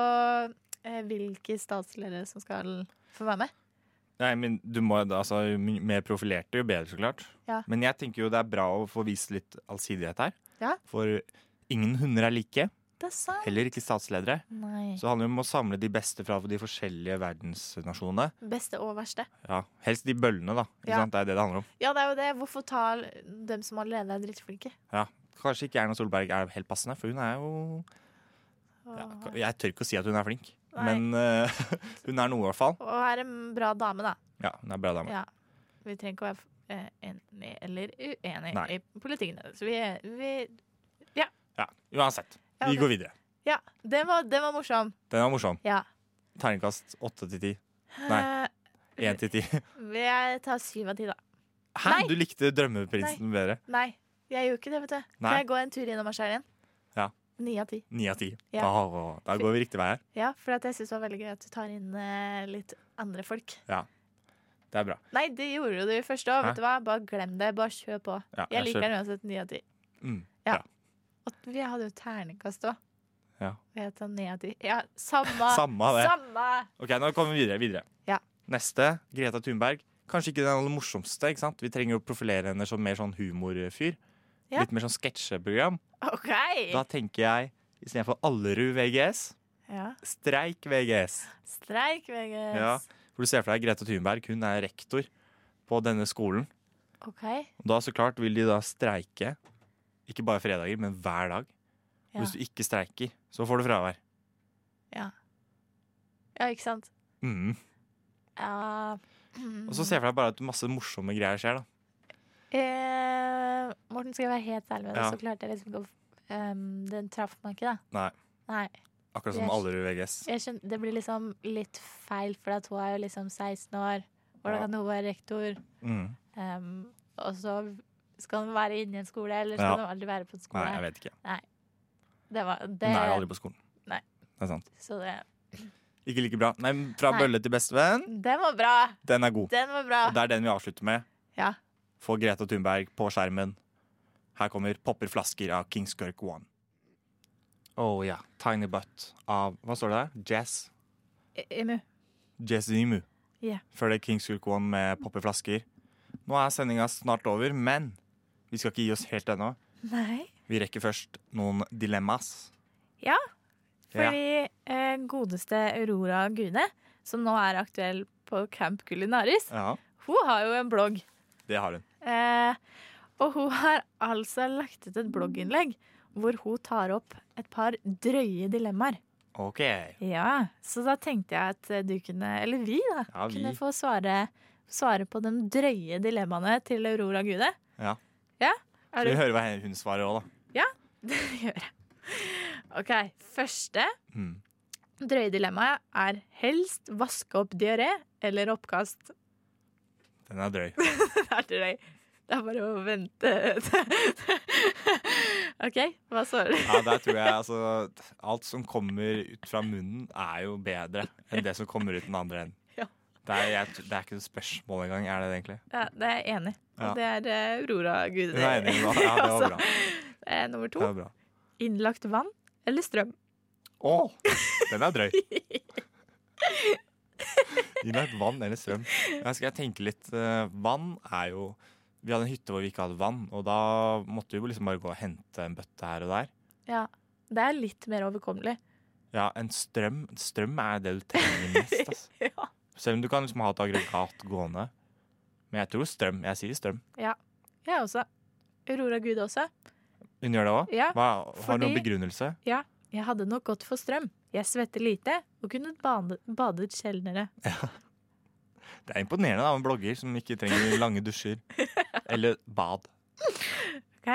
Speaker 4: eh, hvilke statsledere som skal få være med?
Speaker 2: Nei, men du må, altså, jo mer profilerte, jo bedre, så klart.
Speaker 4: Ja.
Speaker 2: Men jeg tenker jo det er bra å få vist litt allsidighet her.
Speaker 4: Ja.
Speaker 2: For ingen hunder er like.
Speaker 4: Det er sant.
Speaker 2: Heller ikke statsledere.
Speaker 4: Nei.
Speaker 2: Så det handler det om å samle de beste fra de forskjellige verdensnasjonene.
Speaker 4: Beste og verste.
Speaker 2: Ja, helst de bøllene, da. Ikke
Speaker 4: Ja.
Speaker 2: sant? Det er det det handler om.
Speaker 4: Ja, det er jo det. Hvorfor ta dem som allerede er drittflinke?
Speaker 2: Ja. Kanskje ikke Erna Solberg er helt passende, for hun er jo ja,
Speaker 4: Og,
Speaker 2: Jeg tør ikke å si at hun er flink,
Speaker 4: Nei.
Speaker 2: men eh, (laughs) hun er noe, i hvert fall.
Speaker 4: og er en bra dame, da.
Speaker 2: Ja, hun er en bra dame.
Speaker 4: Ja. Vi trenger ikke å være eh, enig eller uenig
Speaker 2: Nei.
Speaker 4: i politikken. Så vi, vi
Speaker 2: Ja, Uansett,
Speaker 4: Ja,
Speaker 2: vi
Speaker 4: det-
Speaker 2: går videre.
Speaker 4: Ja, den var, den var morsom.
Speaker 2: Den var morsom.
Speaker 4: Ja.
Speaker 2: Terningkast åtte til ti. Nei.
Speaker 4: Eh,
Speaker 2: Én til ti. (laughs)
Speaker 4: Jeg tar syv av ti, da.
Speaker 2: Hæ,
Speaker 4: Nei.
Speaker 2: du likte Drømmeprinsen bedre?
Speaker 4: Nei, jeg gjorde ikke det, vet du.
Speaker 2: Nei.
Speaker 4: Kan jeg gå en tur innom meg sjøl igjen?
Speaker 2: Ja.
Speaker 4: Ni av ti.
Speaker 2: Ni av ti.
Speaker 4: Ja.
Speaker 2: Da, da går vi riktig vei her.
Speaker 4: Ja, for at jeg syns det var veldig gøy at du tar inn eh, litt andre folk.
Speaker 2: Det er bra.
Speaker 4: Nei, det gjorde du først òg,
Speaker 2: Hæ?
Speaker 4: vet du hva. Bare glem det. Bare kjør på.
Speaker 2: Ja,
Speaker 4: jeg
Speaker 2: jeg
Speaker 4: liker
Speaker 2: kjører.
Speaker 4: den uansett ni av ti.
Speaker 2: Mm.
Speaker 4: Ja.
Speaker 2: Ja.
Speaker 4: Og vi hadde jo ternekast òg.
Speaker 2: Ja.
Speaker 4: Jeg tar ni av ti. Ja, samme.
Speaker 2: (laughs) Samme av det.
Speaker 4: Samme.
Speaker 2: Ok, nå kommer vi videre. videre.
Speaker 4: Ja.
Speaker 2: Neste, Greta Thunberg. Kanskje ikke den aller morsomste. ikke sant? Vi trenger å profilere henne som mer sånn humorfyr.
Speaker 4: Ja.
Speaker 2: Litt mer sånn sketsjeprogram.
Speaker 4: OK.
Speaker 2: Da tenker jeg istedenfor Allerud VGS,
Speaker 4: Ja.
Speaker 2: Streik VGS.
Speaker 4: Streik, VGS.
Speaker 2: Ja. For du ser for deg Greta Thunberg, hun er rektor på denne skolen.
Speaker 4: OK.
Speaker 2: Og da så klart vil de da streike, ikke bare fredager, men hver dag. Og
Speaker 4: Ja.
Speaker 2: Hvis du ikke streiker, så får du fravær.
Speaker 4: Ja, ikke sant?
Speaker 2: Mhm.
Speaker 4: Ja. Mm.
Speaker 2: Og så ser jeg for deg bare at masse morsomme greier skjer, da.
Speaker 4: Eh, Morten, skal jeg være helt ærlig med deg,
Speaker 2: Ja.
Speaker 4: så klarte jeg liksom ikke å ehm, Den traff meg ikke, da.
Speaker 2: Nei,
Speaker 4: Nei.
Speaker 2: akkurat som
Speaker 4: Yes.
Speaker 2: Allerud VGS.
Speaker 4: Jeg skjønner, det blir liksom litt feil, for at hun er jo liksom 16 år.
Speaker 2: Ja.
Speaker 4: Hvordan kan hun være rektor?
Speaker 2: Mhm.
Speaker 4: Ehm, og så skal hun være inne i en skole, eller skal
Speaker 2: Ja.
Speaker 4: hun aldri være på en skole?
Speaker 2: Nei, jeg vet ikke.
Speaker 4: Det var det,
Speaker 2: Hun er jo aldri på skolen.
Speaker 4: Nei.
Speaker 2: Det er sant.
Speaker 4: Så det,
Speaker 2: Ikke like bra. Nei, men Fra
Speaker 4: Nei.
Speaker 2: bølle til bestevenn,
Speaker 4: den var bra!
Speaker 2: den er god.
Speaker 4: Den var bra!
Speaker 2: Og det er den vi avslutter med.
Speaker 4: Ja.
Speaker 2: Få Greta Thunberg på skjermen. Her kommer 'Popper flasker' av Kings Kirk One. Å Oh, ja. 'Tiny Butt' av Hva står det der? Jazz.
Speaker 4: E-, Emu.
Speaker 2: Jazz Emu.
Speaker 4: Ja.
Speaker 2: Før det Kings Kirk One med 'Popper flasker'. Nå er sendinga snart over, men vi skal ikke gi oss helt ennå.
Speaker 4: Nei.
Speaker 2: Vi rekker først noen dilemmas.
Speaker 4: Ja,
Speaker 2: Ja.
Speaker 4: Fordi eh, godeste Aurora Gune, som nå er aktuell på Camp Culinaris,
Speaker 2: ja.
Speaker 4: hun har jo en blogg.
Speaker 2: Det har hun.
Speaker 4: Eh, og hun har altså lagt ut et blogginnlegg hvor hun tar opp et par drøye dilemmaer.
Speaker 2: OK.
Speaker 4: Ja, Så da tenkte jeg at eh, du kunne, eller vi da,
Speaker 2: Ja, vi.
Speaker 4: kunne få svare, svare på de drøye dilemmaene til Aurora Gune.
Speaker 2: Ja.
Speaker 4: Ja?
Speaker 2: Skal
Speaker 4: Er
Speaker 2: vi
Speaker 4: du?
Speaker 2: høre hva hun svarer òg, da?
Speaker 4: Det gjør jeg. OK. Første
Speaker 2: Mm.
Speaker 4: drøye dilemmaet er helst vaske opp diaré eller oppkast. (laughs)
Speaker 2: Den er drøy.
Speaker 4: Det er drøy. Det er bare å vente. (laughs) OK, hva svarer du?
Speaker 2: Ja, der tror jeg altså Alt som kommer ut fra munnen, er jo bedre enn det som kommer ut den andre enden.
Speaker 4: Ja.
Speaker 2: Det er, jeg, det er ikke noe spørsmål engang, er det det egentlig?
Speaker 4: Ja, det er jeg enig. i. Og det er eh, Aurora Gud.
Speaker 2: Hun er enig med meg.
Speaker 4: (laughs)
Speaker 2: Ja, det
Speaker 4: Altså,
Speaker 2: var bra.
Speaker 4: Eh, nummer
Speaker 2: Det
Speaker 4: to
Speaker 2: var bra.
Speaker 4: innlagt vann eller strøm.
Speaker 2: Å! Den er drøy. Gi meg et vann eller strøm. Jeg skal jeg tenke litt. eh, Vann er jo Vi hadde en hytte hvor vi ikke hadde vann, og da måtte vi jo liksom bare gå og hente en bøtte her og der.
Speaker 4: Ja, Det er litt mer overkommelig.
Speaker 2: Ja, en strøm Strøm er det du trenger (laughs) mest, altså.
Speaker 4: Ja.
Speaker 2: Selv om du kan liksom ha et aggregat gående. Men jeg tror strøm. Jeg sier strøm.
Speaker 4: Jeg også. Aurora Gud også.
Speaker 2: Hun gjør det òg?
Speaker 4: Ja,
Speaker 2: Har du noen
Speaker 4: fordi-
Speaker 2: begrunnelse?
Speaker 4: Jeg hadde nok gått for strøm. Jeg svetter lite og kunne bade, badet sjeldnere.
Speaker 2: Det er imponerende da, med blogger som ikke trenger lange (laughs) dusjer. Eller bad.
Speaker 4: Ok?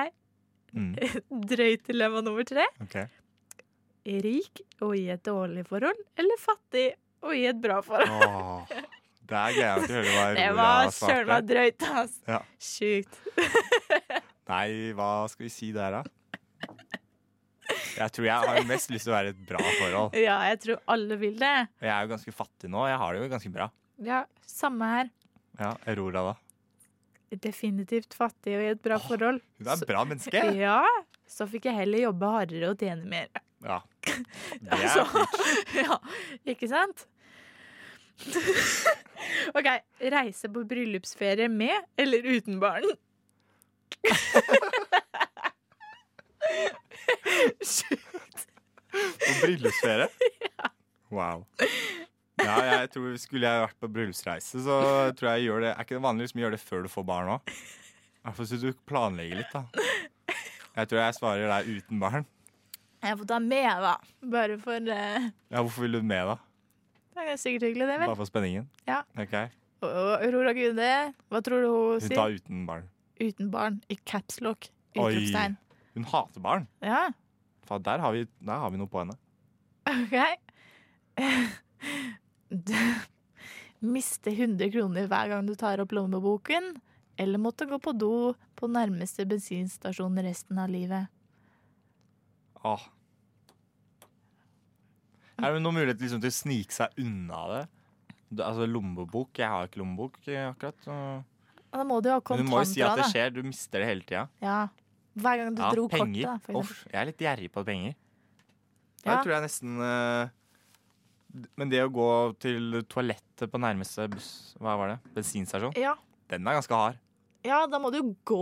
Speaker 2: Mm,
Speaker 4: Drøyt dilemma nummer tre.
Speaker 2: ok.
Speaker 4: Rik og i et dårlig forhold, eller fattig og i et bra forhold.
Speaker 2: Åh,
Speaker 4: (laughs)
Speaker 2: det er gøy at du hører hva
Speaker 4: Det
Speaker 2: Aurora
Speaker 4: var søren
Speaker 2: svarte.
Speaker 4: meg drøyt, ass.
Speaker 2: Ja.
Speaker 4: Sjukt.
Speaker 2: Nei, hva skal vi si der, da? Jeg tror jeg har mest lyst til å være i et bra forhold.
Speaker 4: Ja, jeg tror alle vil det.
Speaker 2: Og Jeg er jo ganske fattig nå. Jeg har det jo ganske bra.
Speaker 4: Ja, Samme her.
Speaker 2: Ja, Aurora, da.
Speaker 4: Definitivt fattig og i et bra forhold.
Speaker 2: Hun er et bra menneske.
Speaker 4: Ja, så fikk jeg heller jobbe hardere og tjene mer. (laughs)
Speaker 2: Ja. Det er
Speaker 4: Altså, ja, ikke sant? (laughs) OK. Reise på bryllupsferie med eller uten barn?
Speaker 2: På
Speaker 4: (laughs)
Speaker 2: bryllupsferie? Wow. Ja, jeg tror Skulle jeg vært på bryllupsreise, så tror jeg jeg gjør det Er ikke det vanlig liksom å gjøre det før du får barn òg? I hvert fall hvis du planlegger litt, da. Jeg tror jeg svarer deg uten barn.
Speaker 4: Jeg får ta med, da. Bare for eh,
Speaker 2: Ja, Hvorfor vil du med, da?
Speaker 4: Det er sikkert hyggelig, det, vel.
Speaker 2: Bare for spenningen?
Speaker 4: Ja.
Speaker 2: Ok,
Speaker 4: Og Aurora Gude, hva tror du hun
Speaker 2: Hun tar
Speaker 4: sier?
Speaker 2: uten barn.
Speaker 4: Uten barn. I capslock.
Speaker 2: Oi.
Speaker 4: Utropstegn.
Speaker 2: Hun hater barn.
Speaker 4: Ja,
Speaker 2: Faen, der, har vi, der har vi noe på henne.
Speaker 4: OK. (laughs) Miste 100 kroner hver gang du tar opp lommeboken, eller måtte gå på do på nærmeste bensinstasjon resten av livet.
Speaker 2: Åh. Er det noen mulighet liksom, til å snike seg unna det? Du- Altså Lommebok? Jeg har ikke lommebok eh, akkurat. så-
Speaker 4: Og da må du jo ha
Speaker 2: Men du må jo
Speaker 4: kontanter,
Speaker 2: si at det
Speaker 4: da.
Speaker 2: skjer. Du mister det hele tida.
Speaker 4: Ja. Hver gang du
Speaker 2: Ja,
Speaker 4: dro kortet, da.
Speaker 2: penger.
Speaker 4: For eksempel.
Speaker 2: Uff, jeg er litt gjerrig på penger.
Speaker 4: Ja.
Speaker 2: Der tror jeg nesten eh, d- Men det å gå til toalettet på nærmeste buss, hva var det? bensinstasjon,
Speaker 4: ja.
Speaker 2: den er ganske hard.
Speaker 4: ja, da må du jo gå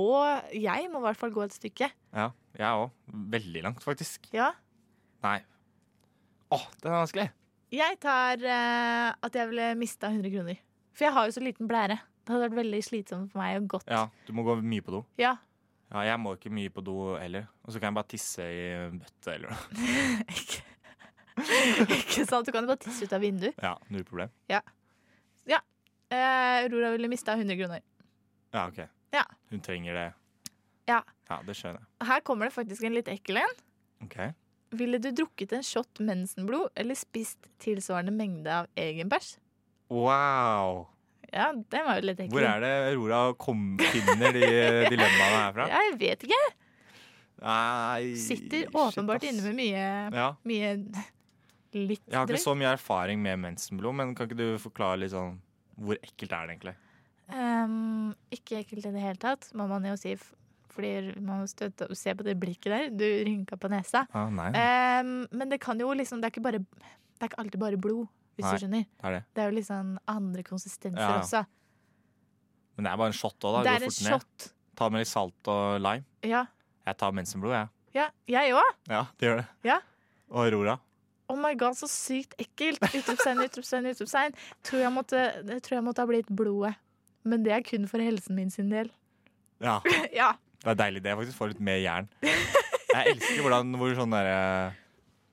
Speaker 4: Jeg må i hvert fall gå et stykke.
Speaker 2: Ja, jeg òg. Veldig langt, faktisk.
Speaker 4: Ja.
Speaker 2: Nei. Åh, den er vanskelig.
Speaker 4: Jeg tar eh, at jeg ville mista 100 kroner. For jeg har jo så liten blære. Det hadde vært veldig slitsomt for meg og godt.
Speaker 2: Ja, du må gå mye på do.
Speaker 4: Ja, (laughs)
Speaker 2: Ja, jeg må ikke mye på do heller. Og så kan jeg bare tisse i en bøtte eller noe.
Speaker 4: ikke, ikke sant? Du kan jo bare tisse ut av vinduet.
Speaker 2: Ja, null problem.
Speaker 4: Eh, Aurora ville mista 100 kroner.
Speaker 2: Ja, ok.
Speaker 4: Ja.
Speaker 2: Hun trenger det.
Speaker 4: Ja.
Speaker 2: Ja, det skjønner jeg.
Speaker 4: Her kommer det faktisk en litt ekkel en.
Speaker 2: Ok.
Speaker 4: Ville du drukket en shot mensenblod eller spist tilsvarende mengde av egen bæsj?
Speaker 2: Wow!
Speaker 4: Ja, den var jo litt ekkel.
Speaker 2: Hvor er det Aurora kom, finner
Speaker 4: (laughs)
Speaker 2: de dilemmaene herfra?
Speaker 4: Ja, jeg vet ikke.
Speaker 2: Nei,
Speaker 4: Sitter åpenbart
Speaker 2: shit, ass.
Speaker 4: inne med mye,
Speaker 2: Ja.
Speaker 4: mye litt
Speaker 2: Jeg har ikke
Speaker 4: drøyt.
Speaker 2: så mye erfaring med mensenblod, men kan ikke du forklare litt sånn hvor ekkelt er det egentlig?
Speaker 4: Ehm, ikke ekkelt i det hele tatt, må man jo si. f- Fordi man støtter og ser på det blikket der. Du rynka på nesa.
Speaker 2: Ah, nei, det
Speaker 4: Ehm, men det kan jo liksom Det er ikke, bare, det er ikke alltid bare blod, hvis
Speaker 2: Nei.
Speaker 4: du skjønner.
Speaker 2: er det.
Speaker 4: Det er jo liksom andre konsistenser
Speaker 2: Ja, ja.
Speaker 4: også.
Speaker 2: Men det er bare en shot òg, da.
Speaker 4: Det er
Speaker 2: Gå
Speaker 4: en
Speaker 2: fort ned.
Speaker 4: shot.
Speaker 2: Ta med litt salt og lime.
Speaker 4: Ja.
Speaker 2: Jeg tar mensenblod, jeg.
Speaker 4: ja. Jeg òg.
Speaker 2: Ja. det gjør det.
Speaker 4: Ja.
Speaker 2: Og Aurora.
Speaker 4: Oh my god, så sykt ekkelt! Utropstegn, utropstegn, utropstegn. Tror jeg måtte, jeg tror jeg måtte ha blitt blodet. Men det er kun for helsen min sin del.
Speaker 2: Ja.
Speaker 4: Ja.
Speaker 2: Det er deilig det, jeg faktisk. Får litt mer
Speaker 4: (laughs)
Speaker 2: jern. Jeg elsker hvordan, hvor, sånn derre-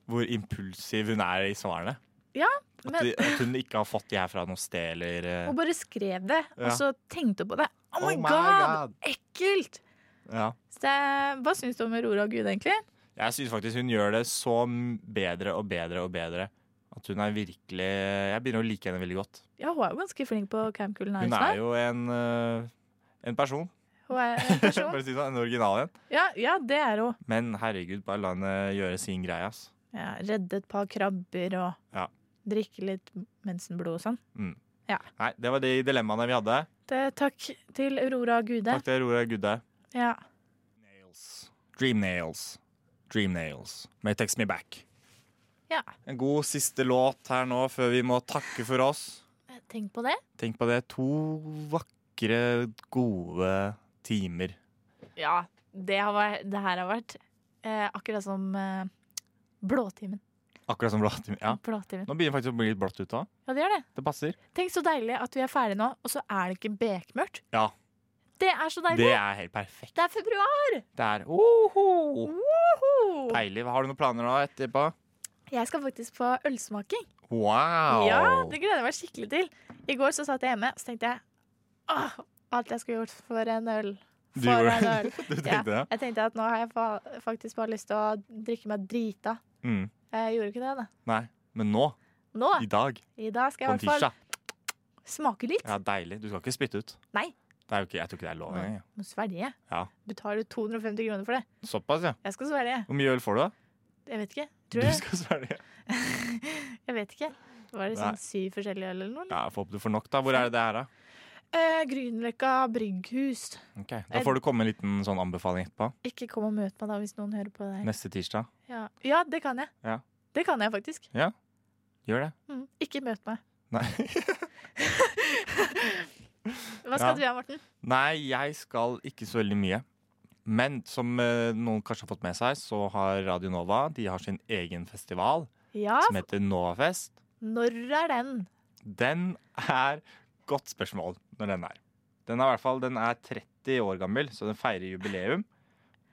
Speaker 2: hvor impulsiv hun er i svarene. At,
Speaker 4: Men
Speaker 2: de, at hun ikke har fått de her fra noe sted, eller eh,
Speaker 4: hun bare skrev det,
Speaker 2: Ja.
Speaker 4: og så tenkte hun på det. Oh my,
Speaker 2: Oh my
Speaker 4: god!
Speaker 2: god.
Speaker 4: Ekkelt!
Speaker 2: ja.
Speaker 4: Så det- hva syns du om Aurora og Gud, egentlig?
Speaker 2: Jeg syns faktisk hun gjør det så m- bedre og bedre og bedre. At hun er virkelig eh, Jeg begynner å like henne veldig godt.
Speaker 4: Ja, hun er jo ganske flink på Camp Cool Nights.
Speaker 2: Hun er jo en, eh, en person.
Speaker 4: Hun er
Speaker 2: (laughs)
Speaker 4: en
Speaker 2: Bare
Speaker 4: person.
Speaker 2: si det sånn, En original en.
Speaker 4: Ja, ja, det er hun.
Speaker 2: Men herregud, bare la henne gjøre sin greie, ass.
Speaker 4: Ja, redde et par krabber og
Speaker 2: Ja.
Speaker 4: drikke litt mensenblod og sånn.
Speaker 2: Nei, det var de dilemmaene vi hadde.
Speaker 4: Det- Takk til Aurora og Gude.
Speaker 2: Takk til Aurora Gudde.
Speaker 4: Ja.
Speaker 2: Nails. Dream Nails. Dream Nails med Text Me Back.
Speaker 4: Ja.
Speaker 2: En god siste låt her nå før vi må takke for oss.
Speaker 4: Tenk på det.
Speaker 2: Tenk på det. To vakre, gode timer.
Speaker 4: Ja, det, har vært, det her har vært eh, akkurat som eh, Blåtimen.
Speaker 2: Akkurat som blåtimer. Ja.
Speaker 4: Blåtimen.
Speaker 2: Nå begynner det faktisk å bli litt blått ute òg.
Speaker 4: Ja, det gjør det.
Speaker 2: Det passer.
Speaker 4: Tenk så deilig at vi er ferdig nå, og så er det ikke bekmørkt.
Speaker 2: Ja.
Speaker 4: Det er så deilig.
Speaker 2: Det er helt perfekt.
Speaker 4: Det er februar!
Speaker 2: Det er Oho!
Speaker 4: Woho!
Speaker 2: Deilig. Har du noen planer nå etterpå?
Speaker 4: Jeg skal faktisk på ølsmaking.
Speaker 2: Wow!
Speaker 4: Ja, Det gleder jeg meg skikkelig til. I går så satt jeg hjemme og så tenkte jeg, åh, alt jeg skulle gjort for en øl.
Speaker 2: Du
Speaker 4: For
Speaker 2: gjorde-
Speaker 4: en øl.
Speaker 2: (laughs) Du tenkte
Speaker 4: ja.
Speaker 2: det?
Speaker 4: Jeg tenkte at nå har jeg fa faktisk bare lyst til å drikke meg drita.
Speaker 2: Mm.
Speaker 4: Jeg gjorde ikke det, da.
Speaker 2: Nei. Men nå?
Speaker 4: Nå,
Speaker 2: I dag?
Speaker 4: i dag skal
Speaker 2: På
Speaker 4: jeg
Speaker 2: en
Speaker 4: i hvert
Speaker 2: tirsdag?
Speaker 4: fall smake litt.
Speaker 2: Ja, deilig. Du skal ikke spytte ut.
Speaker 4: Nei.
Speaker 2: Det er jo ikke, jeg tror ikke det er lov engang. jeg.
Speaker 4: Må svelge.
Speaker 2: Ja.
Speaker 4: Betaler 250 kroner for det.
Speaker 2: Såpass, ja.
Speaker 4: Jeg skal svelge.
Speaker 2: Hvor mye øl får du, da?
Speaker 4: Jeg vet ikke.
Speaker 2: Du
Speaker 4: Tror jeg.
Speaker 2: skal svelge.
Speaker 4: jeg vet ikke. Var det
Speaker 2: Nei.
Speaker 4: sånn syv forskjellige øl eller noe? eller?
Speaker 2: Ja, jeg får håpe du får nok, da. Hvor er det det er, da?
Speaker 4: Eh, Grünerløkka brygghus.
Speaker 2: Ok, Da får du komme en liten sånn anbefaling etterpå.
Speaker 4: Ikke kom og møt meg da hvis noen hører på det her.
Speaker 2: Neste tirsdag.
Speaker 4: Ja, ja det kan jeg.
Speaker 2: Ja.
Speaker 4: Det kan jeg faktisk.
Speaker 2: Gjør det.
Speaker 4: Mm. Ikke møt meg.
Speaker 2: Nei. (laughs)
Speaker 4: Hva skal
Speaker 2: Ja.
Speaker 4: du gjøre, Morten?
Speaker 2: Nei, jeg skal ikke så veldig mye. Men som eh, noen kanskje har fått med seg, så har Radio Nova de har sin egen festival
Speaker 4: Ja,
Speaker 2: som heter Novafest.
Speaker 4: når er den?
Speaker 2: Den er Godt spørsmål når den er. Den er i hvert fall den er 30 år gammel, så den feirer jubileum.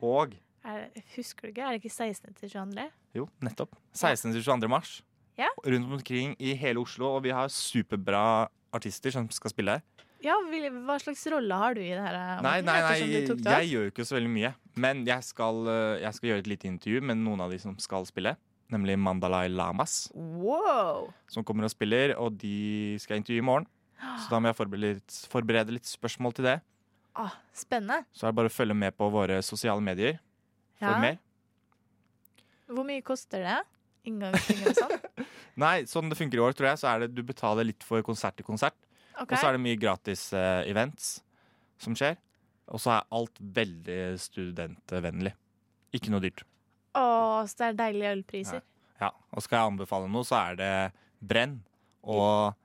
Speaker 2: Og
Speaker 4: Er, husker du ikke? Er det ikke 16. til 22.?
Speaker 2: jo, nettopp. 16. til 22. mars.
Speaker 4: Ja.
Speaker 2: Rundt omkring i hele Oslo, og vi har superbra artister som skal spille her.
Speaker 4: Ja, vil- hva slags rolle har du i det her? Morten?
Speaker 2: Nei, nei,
Speaker 4: Ettersom
Speaker 2: nei,
Speaker 4: du tok det
Speaker 2: jeg
Speaker 4: opp.
Speaker 2: gjør jo ikke så veldig mye. Men jeg skal, eh, jeg skal gjøre et lite intervju med noen av de som skal spille. Nemlig Mandalay Lamas,
Speaker 4: Wow!
Speaker 2: som kommer og spiller. Og de skal jeg intervjue i morgen. Så da må jeg forberede litt, forberede litt spørsmål til det.
Speaker 4: Ah, spennende.
Speaker 2: Så er det bare å følge med på våre sosiale medier for
Speaker 4: Ja.
Speaker 2: mer.
Speaker 4: Hvor mye koster det? Inngangspenger og sånn?
Speaker 2: Nei, sånn det funker i år, tror jeg, så er det du betaler litt for konsert til konsert.
Speaker 4: Ok.
Speaker 2: (laughs) Og så er det mye gratis eh, events som skjer. Og så er alt veldig studentvennlig. Ikke noe dyrt.
Speaker 4: Å, så det er deilige ølpriser.
Speaker 2: Ja, og skal jeg anbefale noe, så er det Brenn og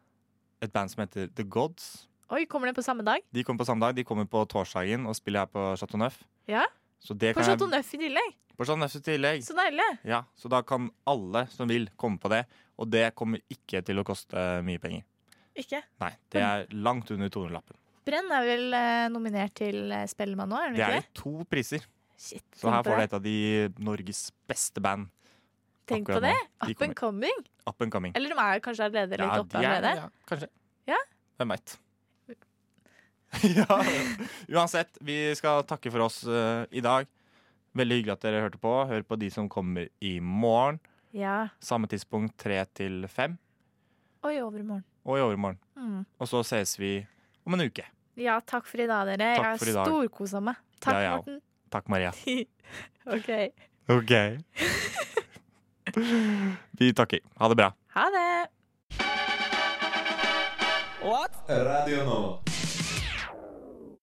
Speaker 2: et band som heter The Gods.
Speaker 4: Oi, kommer det på samme dag?
Speaker 2: De kommer på samme dag. De kommer på torsdagen og spiller her på Chateau Neuf.
Speaker 4: Ja.
Speaker 2: Så det
Speaker 4: På
Speaker 2: kan jeg-
Speaker 4: Chateau Neuf i tillegg.
Speaker 2: På Chateau Neuf i tillegg.
Speaker 4: Så deilig.
Speaker 2: Ja, så da kan alle som vil, komme på det. Og det kommer ikke til å koste mye penger.
Speaker 4: Ikke?
Speaker 2: Nei, det er langt under 200-lappen.
Speaker 4: Brenn er vel eh, nominert til eh, Spellemann nå, er den
Speaker 2: Det
Speaker 4: ikke
Speaker 2: er
Speaker 4: det?
Speaker 2: i to priser.
Speaker 4: Shit,
Speaker 2: Så her
Speaker 4: tenk på
Speaker 2: får du
Speaker 4: det.
Speaker 2: et av de Norges beste band.
Speaker 4: Tenk på
Speaker 2: akkurat
Speaker 4: det.
Speaker 2: nå. De
Speaker 4: Up and coming.
Speaker 2: Up and coming.
Speaker 4: Eller de er kanskje allerede litt oppe allerede.
Speaker 2: ja, kanskje.
Speaker 4: Ja?
Speaker 2: Hvem veit. (laughs) ja. Uansett, vi skal takke for oss eh, i dag. Veldig hyggelig at dere hørte på. Hør på de som kommer i morgen.
Speaker 4: Ja.
Speaker 2: Samme tidspunkt tre til fem.
Speaker 4: Oi, overmorgen.
Speaker 2: Og i overmorgen.
Speaker 4: Mm.
Speaker 2: Og så ses vi om en uke.
Speaker 4: Ja, takk for i dag, dere.
Speaker 2: Takk for i
Speaker 4: jeg
Speaker 2: dag.
Speaker 4: har storkosa meg. Takk,
Speaker 2: Ja, ja.
Speaker 4: Morten. (laughs)
Speaker 2: Takk, Maria.
Speaker 4: OK.
Speaker 2: OK. (laughs) vi takker. Ha det bra.
Speaker 4: Ha det!
Speaker 1: Radio Nova.